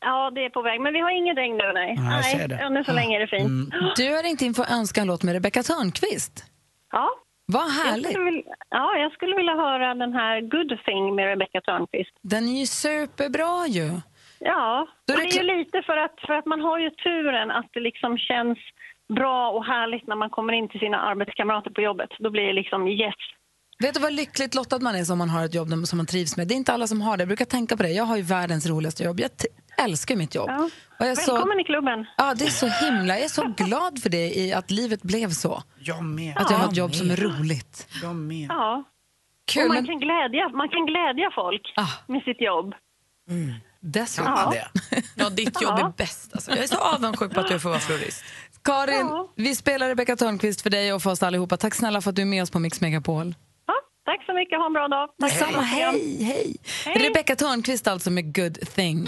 Speaker 20: Ja, det är på väg, men vi har ingen regn nu, nej.
Speaker 2: Nej, jag ser det. Mm.
Speaker 20: ännu så länge är det fint.
Speaker 1: Du har ringt in för att önska en låt med Rebecca Törnqvist.
Speaker 20: Ja.
Speaker 1: Vad
Speaker 20: Jag
Speaker 1: härligt.
Speaker 20: skulle vilja, ja, jag skulle vilja höra den här Good thing med Rebecca Törnqvist.
Speaker 1: Den är ju superbra ju.
Speaker 20: Ja,
Speaker 1: Då är
Speaker 20: och
Speaker 1: det
Speaker 20: det är ju lite för att, för att man har ju turen att det liksom känns bra och härligt när man kommer in till sina arbetskamrater på jobbet. Då blir det liksom yes.
Speaker 1: Vet du vad lyckligt lottad man är som man har ett jobb som man trivs med? Det är inte alla som har det. Jag brukar tänka på det. Jag har ju världens roligaste jobb. Jag t- älskar mitt jobb. Och jag
Speaker 20: Välkommen i klubben.
Speaker 1: Ja, det är så himla. Jag är så glad för det, i att livet blev så.
Speaker 2: Jag med.
Speaker 1: Att jag har ett jobb som är roligt.
Speaker 2: Jag med.
Speaker 20: Ja.
Speaker 1: Kul,
Speaker 20: och man,
Speaker 1: men- Ah.
Speaker 20: kan glädja, man kan glädja folk med sitt jobb.
Speaker 1: Dessutom.
Speaker 20: Ja.
Speaker 4: Ja, ditt jobb är bäst. Alltså, jag är så avundsjuk på att du får vara florist.
Speaker 1: Karin, vi spelar Rebecca Törnqvist för dig och för oss allihopa. Tack snälla för att du är med oss på Mix Megapol.
Speaker 20: Tack så mycket, ha en bra dag.
Speaker 1: Tack samma, hej, hej. Rebecca Törnqvist alltså med Good thing.